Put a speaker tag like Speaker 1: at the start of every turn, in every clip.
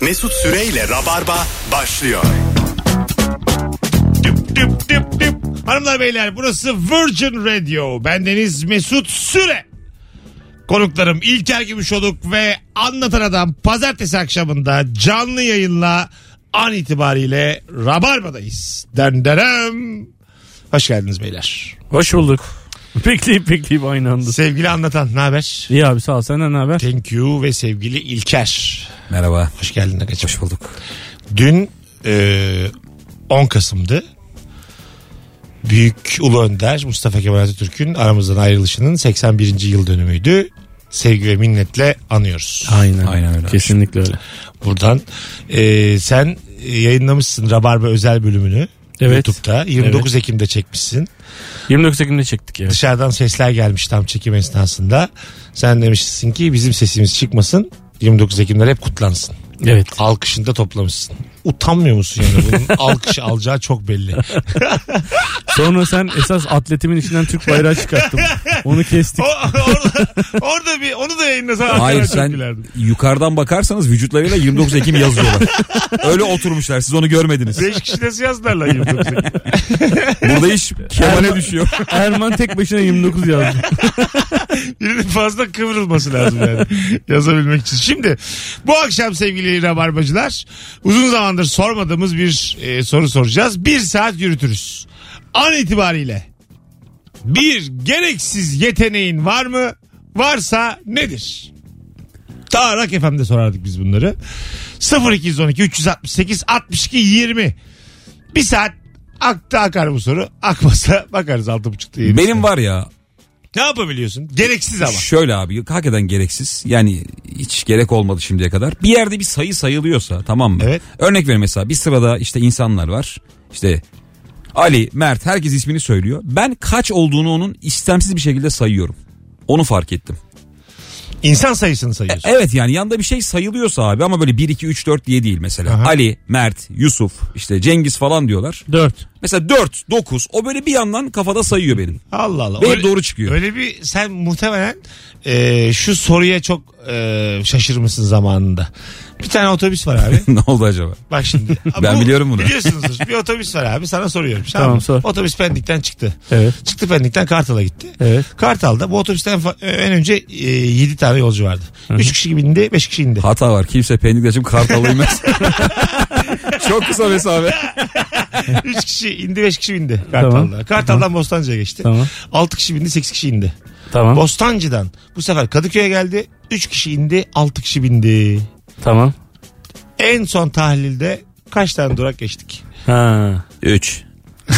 Speaker 1: Mesut Süreyle Rabarba başlıyor.
Speaker 2: Düp düp düp düp. Hanımlar beyler burası Virgin Radio. Bendeniz Mesut Süre. Konuklarım İlker Gümüşoluk ve Anlatan Adam pazartesi akşamında canlı yayınla an itibariyle Rabarba'dayız. Denderem. Hoş geldiniz beyler.
Speaker 3: Hoş bulduk. Bekleyip bekleyip aynı anda.
Speaker 2: Sevgili Anlatan ne haber?
Speaker 3: İyi abi sağ ol senden ne haber?
Speaker 2: Thank you ve sevgili İlker.
Speaker 4: Merhaba.
Speaker 2: Hoş geldin Agacım.
Speaker 4: Hoş bulduk.
Speaker 2: Dün e, 10 Kasım'dı. Büyük Ulu Önder Mustafa Kemal Atatürk'ün aramızdan ayrılışının 81. yıl dönümüydü. Sevgi ve minnetle anıyoruz.
Speaker 3: Aynen.
Speaker 4: Aynen öyle.
Speaker 3: Kesinlikle öyle.
Speaker 2: Buradan e, sen yayınlamışsın Rabarba özel bölümünü.
Speaker 3: Evet.
Speaker 2: YouTube'da 29 Ekim'de çekmişsin.
Speaker 3: 29 Ekim'de çektik ya.
Speaker 2: Dışarıdan sesler gelmiş tam çekim esnasında. Sen demişsin ki bizim sesimiz çıkmasın. 29 Ekimler hep kutlansın.
Speaker 3: Evet.
Speaker 2: Alkışını da toplamışsın. Utanmıyor musun yani? Bunun alkışı alacağı çok belli.
Speaker 3: Sonra sen esas atletimin içinden Türk bayrağı çıkarttın. Onu kestik.
Speaker 2: O, orada, orada bir onu da yayınlasana.
Speaker 4: Hayır
Speaker 2: Hakikaten çok
Speaker 4: sen
Speaker 2: gülerdim.
Speaker 4: yukarıdan bakarsanız vücutlarıyla 29 Ekim yazıyorlar. Öyle oturmuşlar siz onu görmediniz.
Speaker 2: Beş kişi nasıl yazdılar lan YouTube'da?
Speaker 4: Burada iş Kemal'e düşüyor.
Speaker 3: Erman tek başına 29 yazdı.
Speaker 2: Birinin fazla kıvrılması lazım yani yazabilmek için. Şimdi bu akşam sevgili Rabarbacılar uzun zamandır sormadığımız bir e, soru soracağız. Bir saat yürütürüz. An itibariyle bir gereksiz yeteneğin var mı? Varsa nedir? Tarak FM'de sorardık biz bunları. 0212 368 62 20 bir saat aktı akar bu soru. Akmasa bakarız 6.30'da yayınımızda.
Speaker 4: Benim var ya
Speaker 2: Ne yapabiliyorsun? Gereksiz ama.
Speaker 4: şöyle abi hakikaten gereksiz yani hiç gerek olmadı şimdiye kadar. Bir yerde bir sayı sayılıyorsa tamam mı?
Speaker 2: Evet.
Speaker 4: Örnek ver mesela bir sırada işte insanlar var işte Ali, Mert herkes ismini söylüyor. Ben kaç olduğunu onun istemsiz bir şekilde sayıyorum. Onu fark ettim.
Speaker 2: İnsan sayısını sayıyorsun.
Speaker 4: Evet yani yanda bir şey sayılıyorsa abi ama böyle 1 2 3 4 diye değil mesela.
Speaker 2: Aha.
Speaker 4: Ali, Mert, Yusuf, işte Cengiz falan diyorlar.
Speaker 3: 4.
Speaker 4: Mesela 4, 9 o böyle bir yandan kafada sayıyor benim.
Speaker 2: Allah Allah.
Speaker 4: Ve doğru çıkıyor.
Speaker 2: Öyle bir sen muhtemelen e, şu soruya çok e, şaşırmışsın zamanında. Bir tane otobüs var abi.
Speaker 4: ne oldu acaba?
Speaker 2: Bak şimdi.
Speaker 4: Ben biliyorum bunu.
Speaker 2: Biliyorsunuzdur. Bir otobüs var abi. Sana soruyorum.
Speaker 3: Tamam,
Speaker 2: mı?
Speaker 3: sor.
Speaker 2: Otobüs Pendik'ten çıktı.
Speaker 3: Evet.
Speaker 2: Çıktı Pendik'ten Kartal'a gitti.
Speaker 3: Evet.
Speaker 2: Kartal'da bu otobüsten fa- en önce 7 tane yolcu vardı. 3 kişi bindi 5 kişi indi.
Speaker 4: Hata var. Kimse Pendik'te şimdi Kartal'a inmez. Çok kısa mesafe.
Speaker 2: 3 kişi indi 5 kişi bindi Kartal'da.
Speaker 3: Tamam.
Speaker 2: Kartal'dan Bostancı'ya geçti.
Speaker 3: Tamam.
Speaker 2: 6 kişi bindi 8 kişi indi.
Speaker 3: Tamam.
Speaker 2: Bostancı'dan bu sefer Kadıköy'e geldi. 3 kişi indi 6 kişi bindi.
Speaker 3: Tamam.
Speaker 2: En son tahlilde kaç tane durak geçtik?
Speaker 3: Ha.
Speaker 4: 3.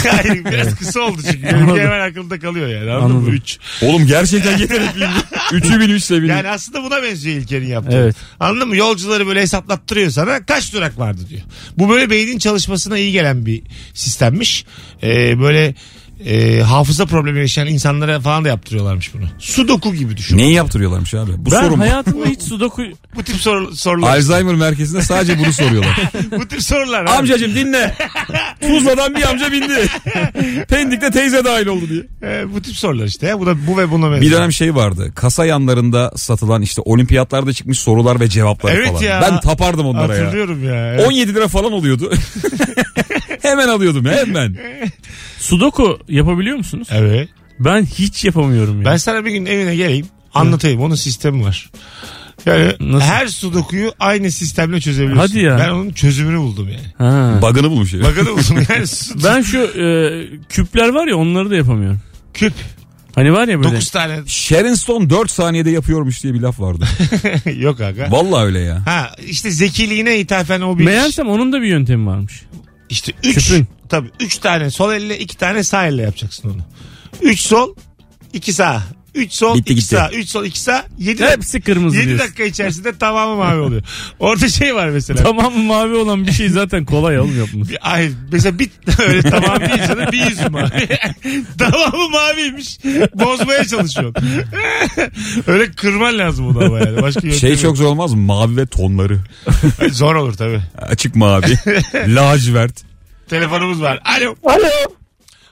Speaker 2: Hayır biraz kısa oldu çünkü.
Speaker 3: Anladım.
Speaker 2: Benimki hemen akılda kalıyor yani. Anladın mı?
Speaker 3: Anladım.
Speaker 2: 3.
Speaker 4: Oğlum gerçekten yetenekliyim. 3'ü bilmiş de
Speaker 2: Yani aslında buna benziyor İlker'in yaptığı.
Speaker 3: Evet.
Speaker 2: Anladın mı? Yolcuları böyle hesaplattırıyor sana. Kaç durak vardı diyor. Bu böyle beynin çalışmasına iyi gelen bir sistemmiş. Ee, böyle e, hafıza problemi yaşayan insanlara falan da yaptırıyorlarmış bunu. Sudoku gibi düşün.
Speaker 4: Neyi yaptırıyorlarmış abi? Bu
Speaker 3: ben
Speaker 4: soru mu?
Speaker 3: hayatımda hiç sudoku...
Speaker 2: Bu tip soru, sorular.
Speaker 4: Alzheimer merkezinde sadece bunu soruyorlar.
Speaker 2: bu tip sorular. abi.
Speaker 4: Amcacım dinle. Tuzla'dan bir amca bindi. Pendik'te teyze dahil oldu diye.
Speaker 2: Ee, bu tip sorular işte. ya. Bu da bu ve buna benziyor.
Speaker 4: Bir dönem şey vardı. Kasa yanlarında satılan işte olimpiyatlarda çıkmış sorular ve cevaplar
Speaker 2: Evet
Speaker 4: falan.
Speaker 2: ya.
Speaker 4: Ben tapardım onlara ya.
Speaker 2: Hatırlıyorum ya. Evet.
Speaker 4: 17 lira falan oluyordu. hemen alıyordum ya hemen.
Speaker 3: Sudoku yapabiliyor musunuz?
Speaker 2: Evet.
Speaker 3: Ben hiç yapamıyorum ya.
Speaker 2: Ben sana bir gün evine geleyim anlatayım. Onun sistemi var. Yani
Speaker 3: Nasıl?
Speaker 2: her sudokuyu aynı sistemle çözebilirsin.
Speaker 3: Hadi ya.
Speaker 2: Ben onun çözümünü buldum yani.
Speaker 3: Ha.
Speaker 4: Bug'ını bulmuş ya.
Speaker 2: Bakın buldum yani sudoku
Speaker 3: Ben şu e, küpler var ya onları da yapamıyorum.
Speaker 2: küp.
Speaker 3: Hani var ya böyle.
Speaker 2: 9 tane
Speaker 4: Sharon Stone 4 saniyede yapıyormuş diye bir laf vardı.
Speaker 2: yok aga.
Speaker 4: Vallahi öyle ya.
Speaker 2: Ha işte zekiliğine ithafen o bir
Speaker 3: Meğersem onun da bir yöntemi varmış.
Speaker 2: işte 3
Speaker 3: Küpün.
Speaker 2: tabii 3 tane sol elle 2 tane sağ elle yapacaksın onu. 3 sol 2 sağ. 3 sol
Speaker 4: Bitti,
Speaker 2: 2
Speaker 4: gitti.
Speaker 2: sağ. 3 sol 2 sağ. 7
Speaker 3: Hepsi kırmızı
Speaker 2: 7
Speaker 3: diyorsun.
Speaker 2: dakika içerisinde tamamı mavi oluyor. Orada şey var mesela.
Speaker 3: Tamam mavi olan bir şey zaten kolay oğlum yapması.
Speaker 2: Bir- Ay mesela bir öyle tamam değil canım bir yüzü mavi. Tamamı maviymiş. Bozmaya çalışıyorsun. öyle kırman lazım onu ama yani. Başka yöntemi
Speaker 4: Şey
Speaker 2: yok.
Speaker 4: çok zor olmaz mı? Mavi ve tonları.
Speaker 2: Zor olur tabii.
Speaker 4: Açık mavi. Lacivert.
Speaker 2: Telefonumuz var. Alo.
Speaker 5: Alo.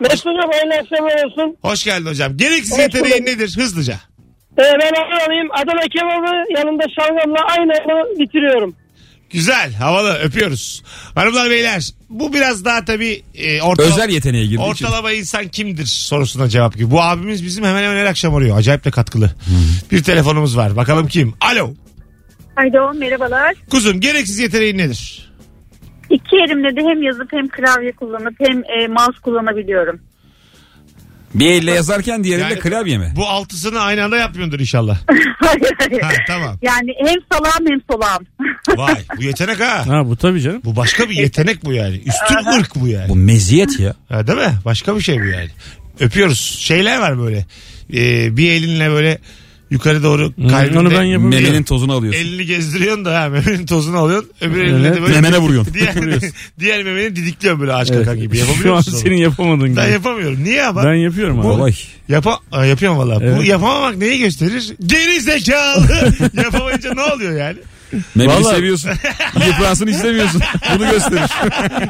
Speaker 5: Mesut'um hayırlı akşamlar olsun.
Speaker 2: Hoş geldin hocam. Gereksiz
Speaker 5: Hoş
Speaker 2: yeteneğin
Speaker 5: bulduk.
Speaker 2: nedir? Hızlıca.
Speaker 5: Ee, ben haber alayım. Adana kebabı yanında şalgamla aynı anda bitiriyorum.
Speaker 2: Güzel havalı öpüyoruz. Hanımlar beyler bu biraz daha tabii e, orta-
Speaker 4: Özel yeteneğe girdiği için.
Speaker 2: ortalama insan kimdir sorusuna cevap gibi. Bu abimiz bizim hemen hemen her akşam arıyor. Acayip de katkılı.
Speaker 3: Hmm.
Speaker 2: Bir telefonumuz var. Bakalım kim? Alo.
Speaker 6: Alo merhabalar.
Speaker 2: Kuzum gereksiz yeteneğin nedir?
Speaker 6: İki elimle de hem yazıp hem klavye kullanıp hem e, mouse kullanabiliyorum.
Speaker 4: Bir elle yazarken diğerinde
Speaker 2: Yani-
Speaker 4: klavye mi?
Speaker 2: Bu altısını aynı anda yapmıyordur inşallah.
Speaker 6: hayır hayır.
Speaker 2: Ha, tamam.
Speaker 6: Yani hem salağım hem solağım.
Speaker 2: Vay bu yetenek ha.
Speaker 3: Ha bu tabii canım.
Speaker 2: Bu başka bir yetenek bu yani. Üstün ırk bu yani.
Speaker 4: Bu meziyet ya.
Speaker 2: Ha, değil mi? Başka bir şey bu yani. Öpüyoruz. Şeyler var böyle. Ee, bir elinle böyle yukarı doğru kalbinde.
Speaker 3: Hmm, onu ben yapamıyorum.
Speaker 4: Memenin tozunu alıyorsun.
Speaker 2: Elini gezdiriyorsun da ha, memenin tozunu alıyorsun. Öbür elinle de
Speaker 3: Evet.
Speaker 2: böyle.
Speaker 4: Memene vuruyorsun.
Speaker 2: Diğer, diğer memeni didikliyorsun böyle ağaç kaka gibi. Yapamıyor
Speaker 3: Şu an
Speaker 2: musun onu?
Speaker 3: senin yapamadığın gibi.
Speaker 2: Ben yapamıyorum. Niye ama?
Speaker 3: Ben yapıyorum abi.
Speaker 4: Kolay.
Speaker 2: Yapa Aa, yapıyorum valla. Bu
Speaker 3: Evet.
Speaker 2: yapamamak neyi gösterir? Geri zekalı. Yapamayınca ne oluyor yani?
Speaker 4: Memeni
Speaker 3: Vallahi-
Speaker 4: seviyorsun. Yıpransın istemiyorsun. Bunu gösterir.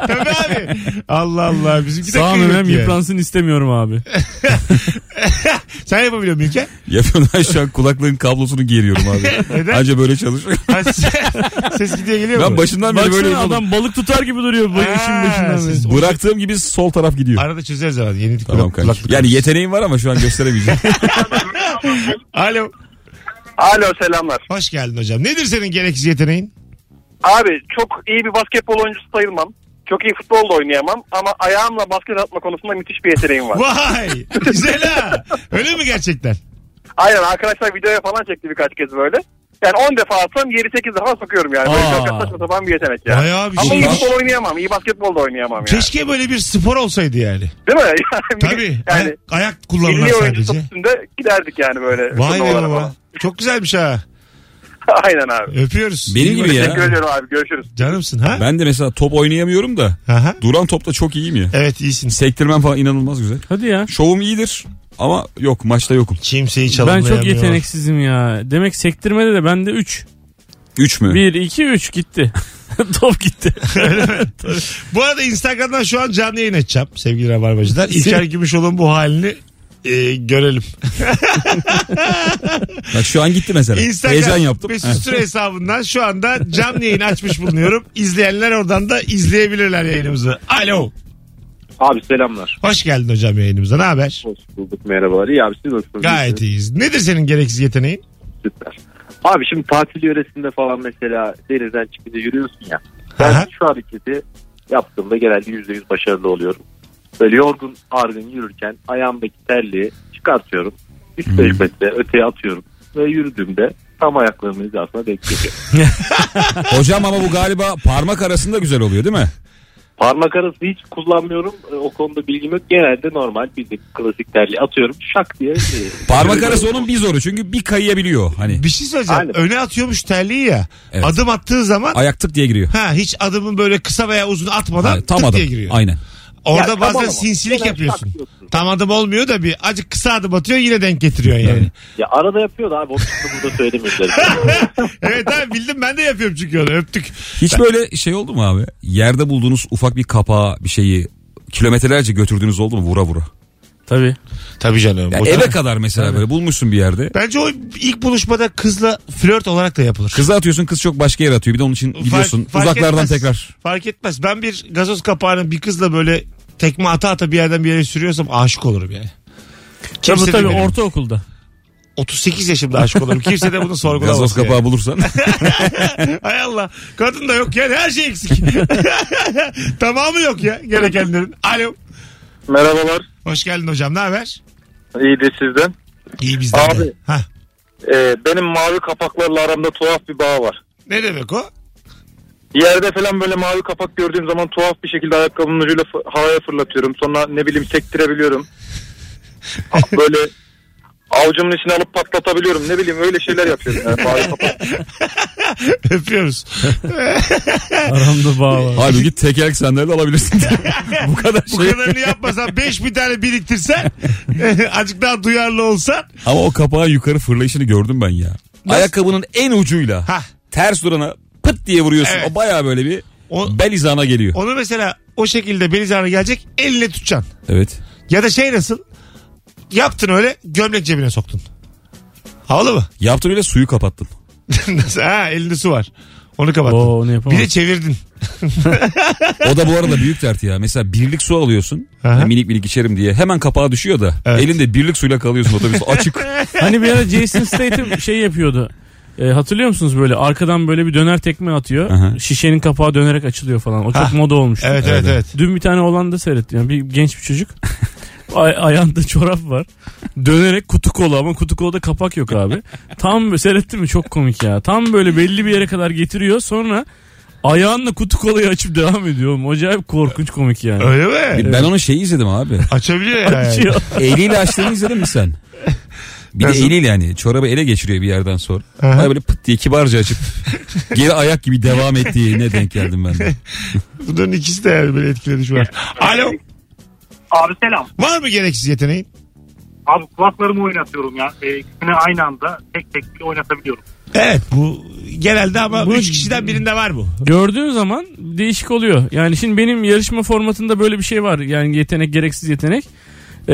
Speaker 2: Tabii abi. Allah Allah. Bizimki de
Speaker 3: Sağ
Speaker 2: kıymetli
Speaker 3: memem
Speaker 2: yani.
Speaker 3: yıpransın istemiyorum abi.
Speaker 2: Sen yapabiliyor musun İlker?
Speaker 4: Yapıyorum ben şu an kulaklığın kablosunu geriyorum abi.
Speaker 2: Neden?
Speaker 4: Anca böyle çalışıyor.
Speaker 2: Ha, ses- Ses gidiyor geliyor mu?
Speaker 4: Ben başından beri
Speaker 3: Baksana
Speaker 4: böyle yapalım.
Speaker 3: adam balık tutar gibi duruyor bu
Speaker 2: Ha,
Speaker 3: işin başından beri.
Speaker 2: siz-
Speaker 4: Bıraktığım gibi sol taraf gidiyor.
Speaker 2: Arada çözeriz abi. Yeni
Speaker 4: Tamam
Speaker 2: kulak,
Speaker 4: kanka.
Speaker 2: kulaklık.
Speaker 4: Yani yeteneğim var ama şu an gösteremeyeceğim.
Speaker 2: Alo.
Speaker 5: Alo selamlar.
Speaker 2: Hoş geldin hocam. Nedir senin gereksiz yeteneğin?
Speaker 5: Abi çok iyi bir basketbol oyuncusu sayılmam. Çok iyi futbol da oynayamam ama ayağımla basket atma konusunda müthiş bir yeteneğim var.
Speaker 2: Vay. Güzel ha. Öyle mi gerçekten?
Speaker 5: Aynen arkadaşlar videoya falan çekti birkaç kez böyle. Yani 10 defa atsam geri 8 defa sokuyorum yani. Böyle
Speaker 3: Aa.
Speaker 5: çok saçma sapan bir yetenek yani.
Speaker 2: Bayağı bir
Speaker 5: Ama
Speaker 2: şey.
Speaker 5: iyi futbol oynayamam. iyi basketbol da oynayamam yani.
Speaker 2: Keşke böyle bir spor olsaydı yani.
Speaker 5: Değil mi? Yani,
Speaker 2: Tabii.
Speaker 5: Yani
Speaker 2: Ayak, ayak kullanılan
Speaker 5: milli
Speaker 2: sadece.
Speaker 5: oyuncu statüsünde giderdik yani böyle.
Speaker 2: Vay be
Speaker 5: turnuvalara
Speaker 2: baba.
Speaker 5: falan.
Speaker 2: Çok güzelmiş ha.
Speaker 5: Aynen abi.
Speaker 2: Öpüyoruz.
Speaker 4: Benim gibi
Speaker 5: Teşekkür
Speaker 4: ya.
Speaker 5: ediyorum abi. Görüşürüz.
Speaker 2: Canımsın ha?
Speaker 4: Ben de mesela top oynayamıyorum da
Speaker 2: Aha.
Speaker 4: duran topta çok iyiyim ya.
Speaker 2: Evet iyisin.
Speaker 4: Sektirmem falan inanılmaz güzel.
Speaker 3: Hadi ya.
Speaker 4: Şovum iyidir ama yok maçta yokum.
Speaker 2: Kimseyi
Speaker 3: Ben
Speaker 2: çalımlayamıyor.
Speaker 3: çok yeteneksizim ya. Demek sektirmede de bende 3.
Speaker 4: 3 mü?
Speaker 3: 1, 2, 3 gitti. Top gitti.
Speaker 2: Bu arada Instagram'dan şu an canlı yayın edeceğim sevgili Rabarbacılar. İlker Gümüşoğlu'nun bu halini e, görelim.
Speaker 4: Bak şu an gitti mesela.
Speaker 2: Instagram
Speaker 4: Heyecan yaptım. Heh.
Speaker 2: Mesut Süre hesabından şu anda canlı yayın açmış bulunuyorum. İzleyenler oradan da izleyebilirler yayınımızı. Alo.
Speaker 7: Abi selamlar.
Speaker 2: Hoş geldin hocam yayınımıza. Ne haber?
Speaker 7: Hoş bulduk merhabalar. İyi abi siz nasılsınız?
Speaker 2: Gayet iyiyiz. Nedir senin gereksiz yeteneğin?
Speaker 7: Süper. Abi şimdi tatil yöresinde falan mesela denizden çıkınca yürüyorsun ya.
Speaker 2: Aha.
Speaker 7: Ben şu hareketi yaptığımda genelde yüzde yüz başarılı oluyorum. Böyle yorgun argın yürürken ayağımdaki terliği çıkartıyorum. 3 5 metre öteye atıyorum. Ve yürüdüğümde tam ayaklarımın hizasına denk geliyor.
Speaker 4: Hocam ama bu galiba parmak arasında güzel oluyor değil mi?
Speaker 7: Parmak arası hiç kullanmıyorum. E, O konuda bilgim yok. Genelde normal bizdeki klasik terliği atıyorum. Şak diye. e,
Speaker 4: Parmak arası onun bir zoru çünkü bir kayıyabiliyor. Hani
Speaker 2: Bir şey söyleyeceğim.
Speaker 7: Aynen.
Speaker 2: Öne atıyormuş terliği ya.
Speaker 4: Evet.
Speaker 2: Adım attığı zaman
Speaker 4: ayak tık diye giriyor.
Speaker 2: ha hiç adımın böyle kısa veya uzun atmadan
Speaker 4: Ha, tam
Speaker 2: tık
Speaker 4: adım.
Speaker 2: diye giriyor.
Speaker 4: Aynen.
Speaker 2: Orada
Speaker 7: Ya,
Speaker 2: bazen
Speaker 7: tamam ama.
Speaker 2: sinsilik
Speaker 7: Genel
Speaker 2: yapıyorsun.
Speaker 7: şak diyorsun.
Speaker 2: Tam adım olmuyor da bir acık kısa adım atıyor yine denk getiriyor yani.
Speaker 7: Ya arada yapıyor da abi. O burada söylemiyoruz.
Speaker 2: evet abi bildim ben de yapıyorum çünkü onu öptük.
Speaker 4: Hiç böyle şey oldu mu abi? Yerde bulduğunuz ufak bir kapağı bir şeyi kilometrelerce götürdüğünüz oldu mu vura vura?
Speaker 3: Tabii.
Speaker 2: Tabii canım.
Speaker 4: Ya e-
Speaker 2: O
Speaker 4: eve
Speaker 2: zaman-
Speaker 4: kadar mesela böyle bulmuşsun bir yerde.
Speaker 2: Bence o ilk buluşmada kızla flört olarak da yapılır.
Speaker 4: Kıza atıyorsun kız çok başka yere atıyor. Bir de onun için
Speaker 2: Fark-
Speaker 4: gidiyorsun
Speaker 2: fark
Speaker 4: uzaklardan
Speaker 2: etmez.
Speaker 4: tekrar.
Speaker 2: Fark etmez. Ben bir gazoz kapağını bir kızla böyle tekme ata ata bir yerden bir yere sürüyorsam aşık olurum yani. Kimse
Speaker 3: Tabii tabii
Speaker 2: de benim.
Speaker 3: ortaokulda.
Speaker 2: 38 yaşımda aşık olurum. Kimse de bunu sorgulamaz.
Speaker 4: Gazoz
Speaker 2: yani.
Speaker 4: kapağı bulursan.
Speaker 2: Hay Allah. Kadın da yok yani her şey eksik. Tamamı yok ya gerekenlerin. Alo.
Speaker 5: Merhabalar.
Speaker 2: Hoş geldin hocam. Ne haber?
Speaker 5: İyidir sizden.
Speaker 2: İyi bizden
Speaker 5: Abi.
Speaker 2: de. Hah.
Speaker 5: benim mavi kapaklarla aramda tuhaf bir bağ var.
Speaker 2: Ne demek o?
Speaker 5: Yerde falan böyle mavi kapak gördüğüm zaman tuhaf bir şekilde ayakkabımın ucuyla fı- havaya fırlatıyorum. Sonra ne bileyim sektirebiliyorum. A- böyle avucumun içine alıp patlatabiliyorum. Ne bileyim öyle şeyler yapıyorum. Yani mavi kapak.
Speaker 2: Öpüyoruz.
Speaker 3: Aramda bağ var.
Speaker 4: Abi git tekerlek sandalye alabilirsin. Bu kadar
Speaker 2: Bu
Speaker 4: şey.
Speaker 2: kadarını yapmasan 5 bir tane biriktirsen azıcık daha duyarlı olsan
Speaker 4: Ama o kapağın yukarı fırlayışını gördüm ben ya. Ayakkabının en ucuyla
Speaker 2: Hah.
Speaker 4: ters durana pıt diye vuruyorsun.
Speaker 2: Evet.
Speaker 4: O baya böyle bir
Speaker 2: O-
Speaker 4: bel hizana geliyor.
Speaker 2: onu mesela o şekilde bel hizana gelecek elle tutacaksın.
Speaker 4: Evet.
Speaker 2: Ya da şey nasıl yaptın öyle gömlek cebine soktun. Havalı mı?
Speaker 4: Yaptın öyle suyu kapattın.
Speaker 2: Nasıl? ha elinde su var. Onu kapattın.
Speaker 3: Oo, onu yapamam.
Speaker 2: bir de çevirdin.
Speaker 4: O da bu arada büyük dert ya. Mesela birlik su alıyorsun.
Speaker 2: Aha.
Speaker 4: Hani Minik minik içerim diye. Hemen kapağı düşüyor da.
Speaker 2: Evet.
Speaker 4: Elinde birlik suyla kalıyorsun otobüs açık.
Speaker 3: Hani bir ara Jason Statham şey yapıyordu. E, hatırlıyor musunuz böyle arkadan böyle bir döner tekme atıyor.
Speaker 4: Aha.
Speaker 3: Şişenin kapağı dönerek açılıyor falan. O çok
Speaker 2: Ha.
Speaker 3: moda olmuş.
Speaker 2: Evet evet evet.
Speaker 3: Dün bir tane olan da seyrettim. Yani bir genç bir çocuk. Ay- ayağında çorap var. Dönerek kutu kola ama kutu kolada kapak yok abi. Tam böyle- seyrettin mi çok komik ya. Tam böyle belli bir yere kadar getiriyor sonra ayağınla kutu kolayı açıp devam ediyor. oğlum. Acayip korkunç komik yani. Şey,
Speaker 2: Öyle mi?
Speaker 4: Ben onu şeyi izledim abi.
Speaker 2: Açabiliyor ya. yani.
Speaker 3: Açıyor.
Speaker 4: Eliyle açtığını izledin mi sen? Bir
Speaker 2: Nasıl?
Speaker 4: de eliyle yani çorabı ele geçiriyor bir yerden sonra.
Speaker 2: Aha.
Speaker 4: Baya böyle pıt diye kibarca açıp geri ayak gibi devam ettiğine denk geldim ben de.
Speaker 2: Bunların ikisi de yani böyle etkiledi şu an. Alo.
Speaker 8: Abi selam.
Speaker 2: Var mı gereksiz yeteneğin?
Speaker 8: Abi kulaklarımı oynatıyorum ya. E, ikisini aynı anda tek tek oynatabiliyorum.
Speaker 2: Evet bu genelde ama
Speaker 3: Bu-
Speaker 2: üç kişiden birinde var bu.
Speaker 3: Gördüğün zaman değişik oluyor. Yani şimdi benim yarışma formatında böyle bir şey var. Yani yetenek gereksiz yetenek. Ee,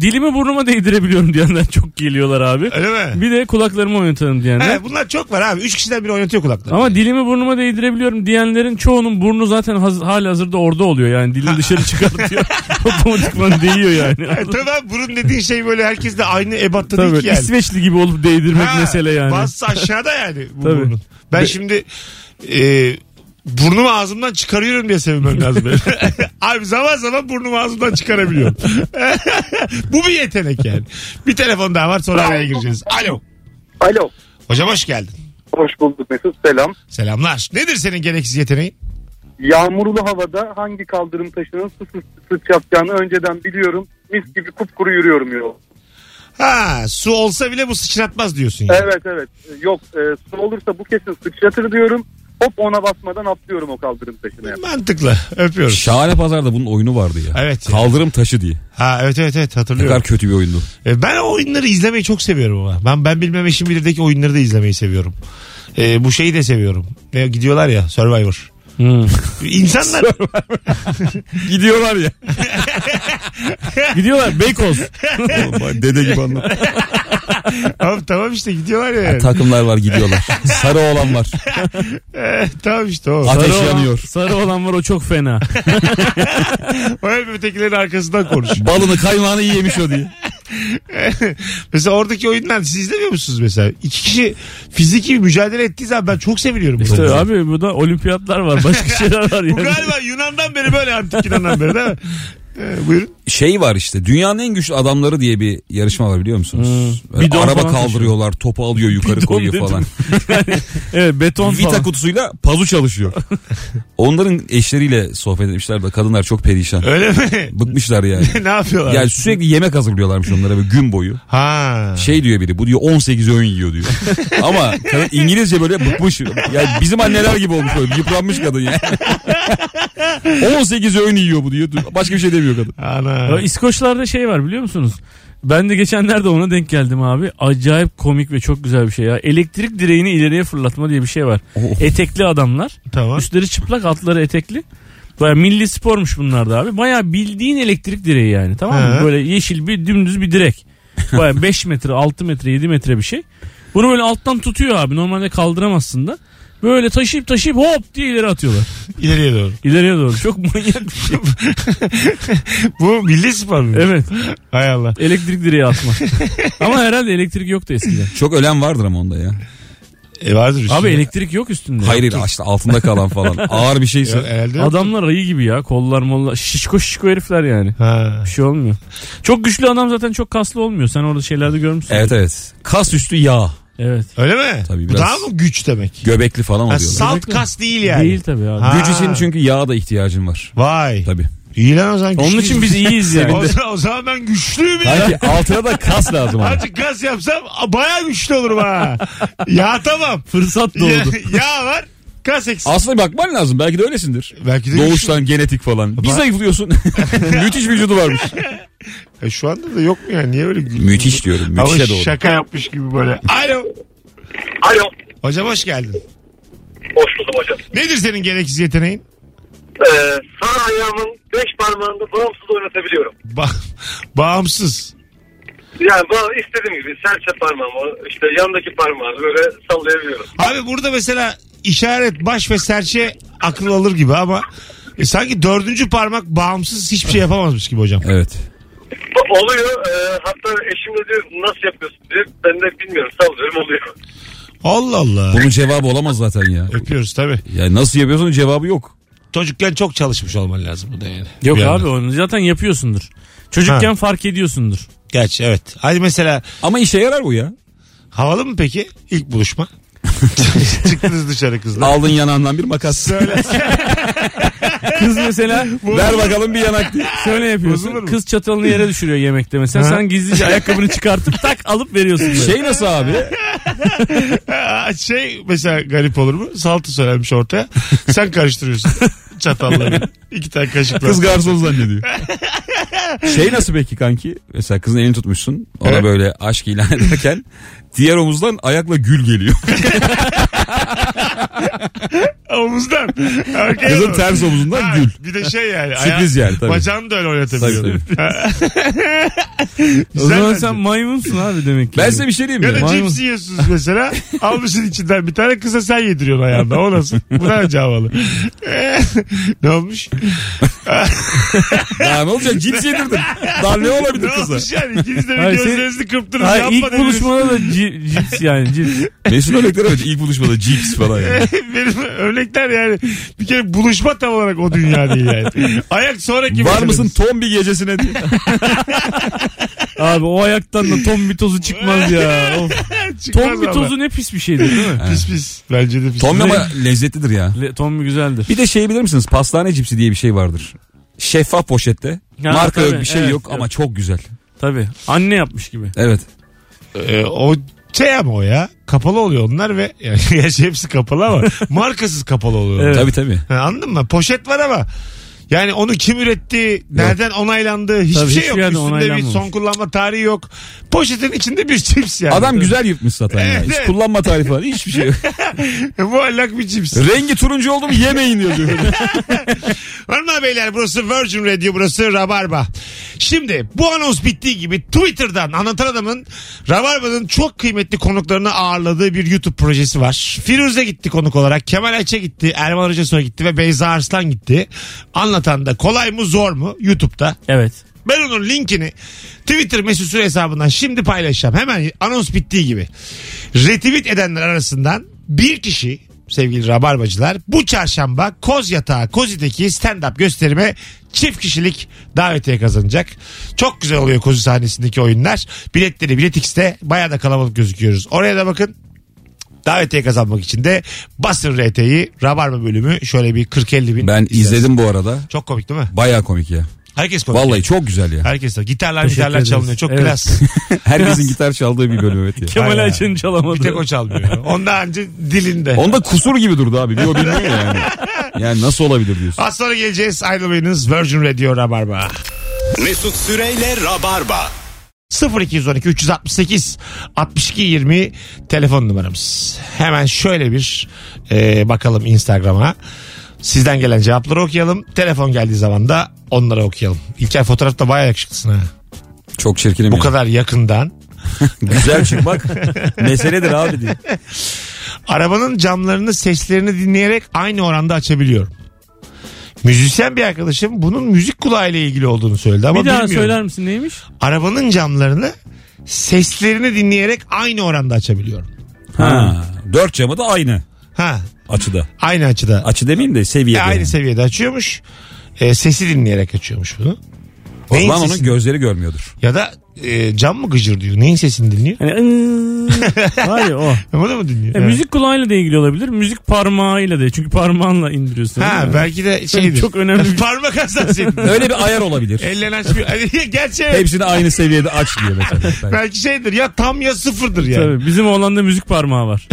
Speaker 3: dilimi burnuma değdirebiliyorum diyenler çok geliyorlar abi.
Speaker 2: Öyle mi?
Speaker 3: Bir de kulaklarımı oynatalım diyenler.
Speaker 2: He, bunlar çok var abi. Üç kişiden biri oynatıyor kulakları.
Speaker 3: Ama dilimi burnuma değdirebiliyorum diyenlerin çoğunun burnu zaten haz- hali hazırda orada oluyor. Yani dilini dışarı çıkartıyor. Otomatikman değiyor yani.
Speaker 2: Yani tamam burun dediğin şey böyle herkes de aynı ebatta değil
Speaker 3: Tabii
Speaker 2: ki yani.
Speaker 3: İsveçli gibi olup değdirmek
Speaker 2: Ha,
Speaker 3: mesele yani.
Speaker 2: Bazısı aşağıda yani bu
Speaker 3: Tabii.
Speaker 2: burnun. Ben şimdi e, burnumu ağzımdan çıkarıyorum diye sevinmem lazım. benim. Abi zaman zaman burnumu ağzımdan çıkarabiliyorum. bu bir yetenek yani. Bir telefon daha var sonra araya gireceğiz. Alo.
Speaker 5: Alo.
Speaker 2: Hocam hoş geldin.
Speaker 5: Hoş bulduk Mesut. Selam.
Speaker 2: Selamlar. Nedir senin gereksiz yeteneğin?
Speaker 5: Yağmurlu havada hangi kaldırım taşının su sıçratacağını önceden biliyorum. Mis gibi kupkuru yürüyorum yol.
Speaker 2: Ha su olsa bile bu sıçratmaz diyorsun yani.
Speaker 5: Evet evet. Yok e, su olursa bu kesin sıçratır diyorum. Hop ona basmadan atlıyorum o kaldırım taşına.
Speaker 2: Mantıklı. Öpüyoruz.
Speaker 4: Şahane Pazar'da bunun oyunu vardı ya.
Speaker 2: Evet ya.
Speaker 4: Kaldırım taşı diye.
Speaker 2: Ha evet evet evet
Speaker 4: Ne
Speaker 2: hatırlıyorum.
Speaker 4: kadar kötü bir oyundu.
Speaker 2: E, Ben o oyunları izlemeyi çok seviyorum ama. Ben ben bilmem eşim bilirdeki oyunları da izlemeyi seviyorum. E, bu şeyi de seviyorum. Ne gidiyorlar ya Survivor.
Speaker 3: Hmm.
Speaker 2: İnsanlar
Speaker 3: Gidiyorlar ya. Gidiyorlar Beykoz.
Speaker 4: Dede gibi anlat.
Speaker 2: tamam, tamam işte gidiyorlar ya. yani.
Speaker 4: Takımlar var gidiyorlar. Sarı olan var.
Speaker 2: E, tamam işte o.
Speaker 4: Ateş
Speaker 3: Sarı olan-
Speaker 4: yanıyor.
Speaker 3: Sarı olan var o çok fena.
Speaker 2: O hep ötekilerin arkasından konuş.
Speaker 4: Balını kaymağını iyi yemiş o diye.
Speaker 2: mesela oradaki oyunlar siz izlemiyor musunuz mesela? İki kişi fiziki bir mücadele ettiği zaman ben çok seviniyorum. bunu.
Speaker 3: İşte abi bu da olimpiyatlar var. Başka şeyler var
Speaker 2: Bu
Speaker 3: yani.
Speaker 2: galiba Yunan'dan beri böyle antik Yunan'dan beri değil mi? E, buyurun.
Speaker 4: Şey var işte dünyanın en güçlü adamları diye bir yarışma var biliyor musunuz? Böyle
Speaker 3: Hmm. Bidon
Speaker 4: araba
Speaker 3: falan
Speaker 4: kaldırıyorlar topu alıyor yukarı
Speaker 3: Bidon
Speaker 4: koyuyor
Speaker 3: dedim.
Speaker 4: falan.
Speaker 3: Evet beton
Speaker 4: Vita
Speaker 3: falan.
Speaker 4: kutusuyla pazu çalışıyor. Onların eşleriyle sohbet etmişler de kadınlar çok perişan.
Speaker 2: Öyle mi?
Speaker 4: Bıkmışlar yani.
Speaker 2: ne yapıyorlar?
Speaker 4: Yani sürekli yemek hazırlıyorlarmış onlara böyle gün boyu.
Speaker 2: Ha.
Speaker 4: Şey diyor biri bu diyor 18 öğün yiyor diyor. Ama kadın İngilizce böyle bıkmış. Yani bizim anneler gibi olmuş böyle yıpranmış kadın yani. 18 öğün yiyor bu diyor. Başka bir şey demiyor kadın.
Speaker 2: Ana.
Speaker 3: Ya İskoçlarda şey var biliyor musunuz? Ben de geçenlerde ona denk geldim abi. Acayip komik ve çok güzel bir şey ya. Elektrik direğini ileriye fırlatma diye bir şey var. Etekli adamlar.
Speaker 2: Tamam.
Speaker 3: Üstleri çıplak altları etekli. Baya milli spormuş bunlar da abi. Baya bildiğin elektrik direği yani tamam mı?
Speaker 2: He.
Speaker 3: Böyle yeşil bir dümdüz bir direk. Baya 5 metre 6 metre 7 metre bir şey. Bunu böyle alttan tutuyor abi. Normalde kaldıramazsın da. Böyle taşıyıp taşıyıp hop diye ileri atıyorlar.
Speaker 2: İleriye doğru.
Speaker 3: İleriye doğru. Çok manyak bir şey.
Speaker 2: Bu milli spor mu?
Speaker 3: Evet.
Speaker 2: Hay Allah.
Speaker 3: Elektrik direği atma. Ama herhalde elektrik yoktu eskiden.
Speaker 4: Çok ölen vardır ama onda ya.
Speaker 2: E vardır üstünde.
Speaker 3: Abi elektrik yok üstünde.
Speaker 4: Hayır hayır, işte altında kalan falan. Ağır bir şey
Speaker 2: Yok,
Speaker 4: şeyse.
Speaker 2: herhalde yok.
Speaker 3: Adamlar ayı gibi ya. Kollar mollar. Şişko şişko herifler yani.
Speaker 2: Ha.
Speaker 3: Bir şey olmuyor. Çok güçlü adam zaten çok kaslı olmuyor. Sen orada şeylerde görmüşsün.
Speaker 4: Evet evet. Kas üstü yağ.
Speaker 3: Evet.
Speaker 2: Öyle mi?
Speaker 4: Tabii
Speaker 2: Bu
Speaker 4: biraz-
Speaker 2: daha mı güç demek?
Speaker 4: Göbekli falan
Speaker 2: Ha,
Speaker 4: oluyorlar.
Speaker 2: salt kas değil yani.
Speaker 3: Değil tabii abi.
Speaker 2: Ha.
Speaker 4: Güç için çünkü yağa da ihtiyacın var.
Speaker 2: Vay.
Speaker 4: Tabii.
Speaker 2: İyi lan o zaman
Speaker 3: Onun için
Speaker 2: şey
Speaker 3: biz iyiyiz yani.
Speaker 2: o, zaman- o zaman ben güçlüyüm ya.
Speaker 4: Sanki altına da kas lazım abi.
Speaker 2: Azıcık kas yapsam a, bayağı güçlü olurum ha. ya tamam.
Speaker 3: Fırsat
Speaker 2: Ya,
Speaker 3: doğdu.
Speaker 2: ya var. Kas eksik.
Speaker 4: Aslında bakman lazım. Belki de öylesindir.
Speaker 2: Belki de
Speaker 4: Doğuştan genetik falan. Bir
Speaker 2: Ba-
Speaker 4: zayıflıyorsun. Müthiş vücudu varmış.
Speaker 2: güçlü. E, şu anda da yok mu yani? Niye öyle güçlü?
Speaker 4: Müthiş diyorum.
Speaker 2: Ama
Speaker 4: Müthişe doğru.
Speaker 2: şaka yapmış gibi böyle. Alo.
Speaker 5: Alo.
Speaker 2: Hocam hoş geldin.
Speaker 5: Hoş buldum hocam.
Speaker 2: Nedir senin gereksiz yeteneğin?
Speaker 5: Ee, sağ ayağımın beş parmağında bağımsız oynatabiliyorum.
Speaker 2: Ba- bağımsız.
Speaker 5: Yani bana istediğim gibi serçe parmağımı, işte yandaki parmağımı böyle sallayabiliyorum.
Speaker 2: Abi burada mesela işaret, baş ve serçe akıl alır gibi ama e, sanki dördüncü parmak bağımsız hiçbir şey yapamazmış gibi hocam.
Speaker 4: Evet.
Speaker 5: Oluyor. Ee, hatta eşim de diyor nasıl yapıyorsun diye. Ben de bilmiyorum. Sallıyorum oluyor.
Speaker 2: Allah Allah.
Speaker 4: Bunun cevabı olamaz zaten ya.
Speaker 2: Öpüyoruz tabii.
Speaker 4: Ya nasıl yapıyorsun cevabı yok.
Speaker 2: Çocukken çok çalışmış olman lazım bu da yani.
Speaker 3: Yok
Speaker 2: Bir
Speaker 3: abi
Speaker 2: yandan.
Speaker 3: onu zaten yapıyorsundur. Çocukken fark ediyorsundur.
Speaker 2: Gerçi evet. Hadi mesela
Speaker 4: Ama işe yarar bu ya.
Speaker 2: havalı mı peki ilk buluşma? Çıktınız dışarı kızla.
Speaker 4: Aldın yanağından bir makas.
Speaker 2: Söyle.
Speaker 3: Kız mesela
Speaker 4: Ver bakalım bir yanak diye.
Speaker 3: şöyle
Speaker 2: Bozulur mu?
Speaker 3: yapıyorsun. Kız çatalını yere düşürüyor yemekte mesela.
Speaker 2: Ha.
Speaker 3: Sen gizlice ayakkabını çıkartıp tak alıp veriyorsun. böyle.
Speaker 4: Şey nasıl abi?
Speaker 2: Aa, şey mesela garip olur mu? Saltı söylenmiş ortaya. Sen karıştırıyorsun çatalları. İki tane kaşıkla.
Speaker 4: Kız garson zannediyor. Şey nasıl peki kanki? Mesela kızın elini tutmuşsun. Ona
Speaker 2: Evet.
Speaker 4: böyle aşk ilan ederken diğer omuzdan ayakla gül geliyor.
Speaker 2: Omuzdan. Arkaya
Speaker 4: Kızın
Speaker 2: doğru.
Speaker 4: ters omuzundan
Speaker 2: Ha,
Speaker 4: gül.
Speaker 2: Bir de şey yani.
Speaker 4: Sürpriz yani tabii.
Speaker 2: Bacağını da öyle oynatabiliyor.
Speaker 4: Tabii,
Speaker 3: o
Speaker 2: Güzel
Speaker 3: zaman
Speaker 2: bence.
Speaker 3: sen maymunsun abi demek ki.
Speaker 4: Ben size bir şey diyeyim
Speaker 2: Ya
Speaker 4: mi?
Speaker 2: da
Speaker 3: Maymun.
Speaker 2: cips yiyorsunuz mesela. Almışsın içinden bir tane kısa sen yediriyorsun ayağında. O nasıl? Bu da önce havalı. ne olmuş?
Speaker 4: Ya ne olacak? Cips yedirdim. Daha ne olabilir
Speaker 2: Ne
Speaker 4: kıza?
Speaker 2: olmuş yani? İkiniz de bir
Speaker 3: Hayır,
Speaker 2: gözlerinizi kırptınız.
Speaker 3: Hayır,
Speaker 2: şey yapma
Speaker 3: ilk
Speaker 2: dediniz.
Speaker 3: buluşmada da ci- cips yani cips.
Speaker 4: Mesut örnekleri evet. İlk buluşmada cips falan. Yani.
Speaker 2: Benim örnekler yani bir kere buluşma tam olarak o dünya değil yani. Ayak sonraki
Speaker 4: Var
Speaker 2: meselemiz.
Speaker 4: mısın ton bir gecesine diye.
Speaker 3: Abi o ayaktan da ton bitozu çıkmaz ya. Of.
Speaker 2: Çıkmaz
Speaker 3: Ton
Speaker 2: ama.
Speaker 3: bitozu ne pis bir şeydir değil mi?
Speaker 2: Pis pis. Bence de pis.
Speaker 4: Ton ama lezzetlidir ya.
Speaker 3: Le- Ton güzeldir.
Speaker 4: Bir de şey bilir misiniz? Pastane cipsi diye bir şey vardır. Şeffaf poşette.
Speaker 3: Ya,
Speaker 4: Marka yok
Speaker 3: tabii,
Speaker 4: bir şey
Speaker 3: evet,
Speaker 4: yok ama
Speaker 3: yok.
Speaker 4: çok güzel.
Speaker 3: Tabii. Anne yapmış gibi.
Speaker 4: Evet.
Speaker 2: Ee, o şey ama o ya. Kapalı oluyor onlar ve yani gerçi hepsi kapalı ama markasız kapalı oluyor.
Speaker 3: Evet.
Speaker 4: Tabii tabii.
Speaker 2: Ha, anladın mı? Poşet var ama yani onu kim üretti, nereden onaylandı hiçbir
Speaker 3: Tabii,
Speaker 2: şey
Speaker 3: hiçbir
Speaker 2: yok.
Speaker 3: yerde
Speaker 2: Üstünde bir
Speaker 3: onaylanmamış.
Speaker 2: son kullanma tarihi yok. Poşetin içinde bir cips yani.
Speaker 4: Adam güzel yırtmış zaten ya.
Speaker 2: Evet,
Speaker 4: Hiç
Speaker 2: evet.
Speaker 4: kullanma tarifi falan hiçbir şey yok.
Speaker 2: Muallak bir cips.
Speaker 4: Rengi turuncu oldu mu yemeyin diyor.
Speaker 2: Hanımlar beyler burası Virgin Radio burası Rabarba. Şimdi bu anons bittiği gibi Twitter'dan anlatan adamın Rabarba'nın çok kıymetli konuklarını ağırladığı bir YouTube projesi var. Firuze gitti konuk olarak. Kemal Ayça gitti. Erman Hoca Soy gitti ve Beyza Arslan gitti. Anlatan da kolay mı zor mu YouTube'da.
Speaker 3: Evet.
Speaker 2: Ben onun linkini Twitter mesut süre hesabından şimdi paylaşacağım. Hemen anons bittiği gibi. Retweet edenler arasından bir kişi sevgili rabarbacılar bu çarşamba Koz Yatağı Kozi'deki stand-up gösterime çift kişilik davetiye kazanacak. Çok güzel oluyor Kozi sahnesindeki oyunlar. Biletleri Bilet X'te bayağı da kalabalık gözüküyoruz. Oraya da bakın. Davetiye kazanmak için de basın RT'yi Rabarba bölümü şöyle bir 40-50 bin.
Speaker 4: Ben
Speaker 2: izlersin.
Speaker 4: izledim bu arada.
Speaker 2: Çok komik değil mi?
Speaker 4: Baya komik ya.
Speaker 2: Herkes komik.
Speaker 4: Vallahi çok güzel ya.
Speaker 2: Herkes var. Gitarlar
Speaker 3: Teşekkür
Speaker 2: gitarlar
Speaker 3: ederiz.
Speaker 2: çalınıyor. Çok
Speaker 3: Evet.
Speaker 2: klas.
Speaker 4: Herkesin gitar çaldığı bir bölüm evet ya.
Speaker 3: Kemal
Speaker 2: Aynen.
Speaker 3: Ayça'nın
Speaker 2: Bir tek o
Speaker 3: çalamadı.
Speaker 2: çalmıyor. Ondan önce dilinde.
Speaker 4: Onda kusur gibi durdu abi. Bir o bilmiyor ya yani. Yani nasıl olabilir diyorsun.
Speaker 2: Az sonra geleceğiz. Ayrılmayınız. Virgin Radio Rabarba.
Speaker 1: Mesut Süreyle Rabarba.
Speaker 2: 0212 368 62 20 telefon numaramız. Hemen şöyle bir e, bakalım Instagram'a. Sizden gelen cevapları okuyalım. Telefon geldiği zaman da onları okuyalım. İlker fotoğrafta bayağı yakışıklısın ha.
Speaker 4: Çok çirkinim
Speaker 2: Bu
Speaker 4: ya.
Speaker 2: kadar yakından.
Speaker 4: Güzel çıkmak meseledir abi diye.
Speaker 2: Arabanın camlarını seslerini dinleyerek aynı oranda açabiliyorum. Müzisyen bir arkadaşım bunun müzik kulağıyla ilgili olduğunu söyledi ama
Speaker 3: Bir daha
Speaker 2: bilmiyorum.
Speaker 3: söyler misin neymiş?
Speaker 2: Arabanın camlarını seslerini dinleyerek aynı oranda açabiliyorum.
Speaker 4: Ha. Dört camı da aynı
Speaker 2: Ha,
Speaker 4: açıda.
Speaker 2: aynı açıda.
Speaker 4: Açı demeyeyim de
Speaker 2: E,
Speaker 4: seviyede.
Speaker 2: aynı
Speaker 4: yani.
Speaker 2: seviyede açıyormuş. E, sesi dinleyerek açıyormuş bunu.
Speaker 4: O
Speaker 2: Neyin
Speaker 4: zaman onun
Speaker 2: sesi-
Speaker 4: gözleri görmüyordur.
Speaker 2: ya da e, cam mı gıcır diyor. Neyin sesini dinliyor?
Speaker 3: Hani ıı, var ya o.
Speaker 2: Onu da mı dinliyor?
Speaker 3: E,
Speaker 2: Ha.
Speaker 3: müzik kulağıyla da ilgili olabilir. Müzik parmağıyla da. Çünkü parmağınla indiriyorsun.
Speaker 2: Ha
Speaker 3: değil mi?
Speaker 2: belki de şeydir.
Speaker 3: Çok önemli bir-
Speaker 2: Parmak hassasiyeti.
Speaker 4: Öyle bir ayar olabilir.
Speaker 2: Ellerini açmıyor. Gerçi evet.
Speaker 4: Hepsini aynı seviyede aç diyor mesela. Ben-
Speaker 2: Belki şeydir ya tam ya sıfırdır yani.
Speaker 3: Tabii bizim oğlanda müzik parmağı var.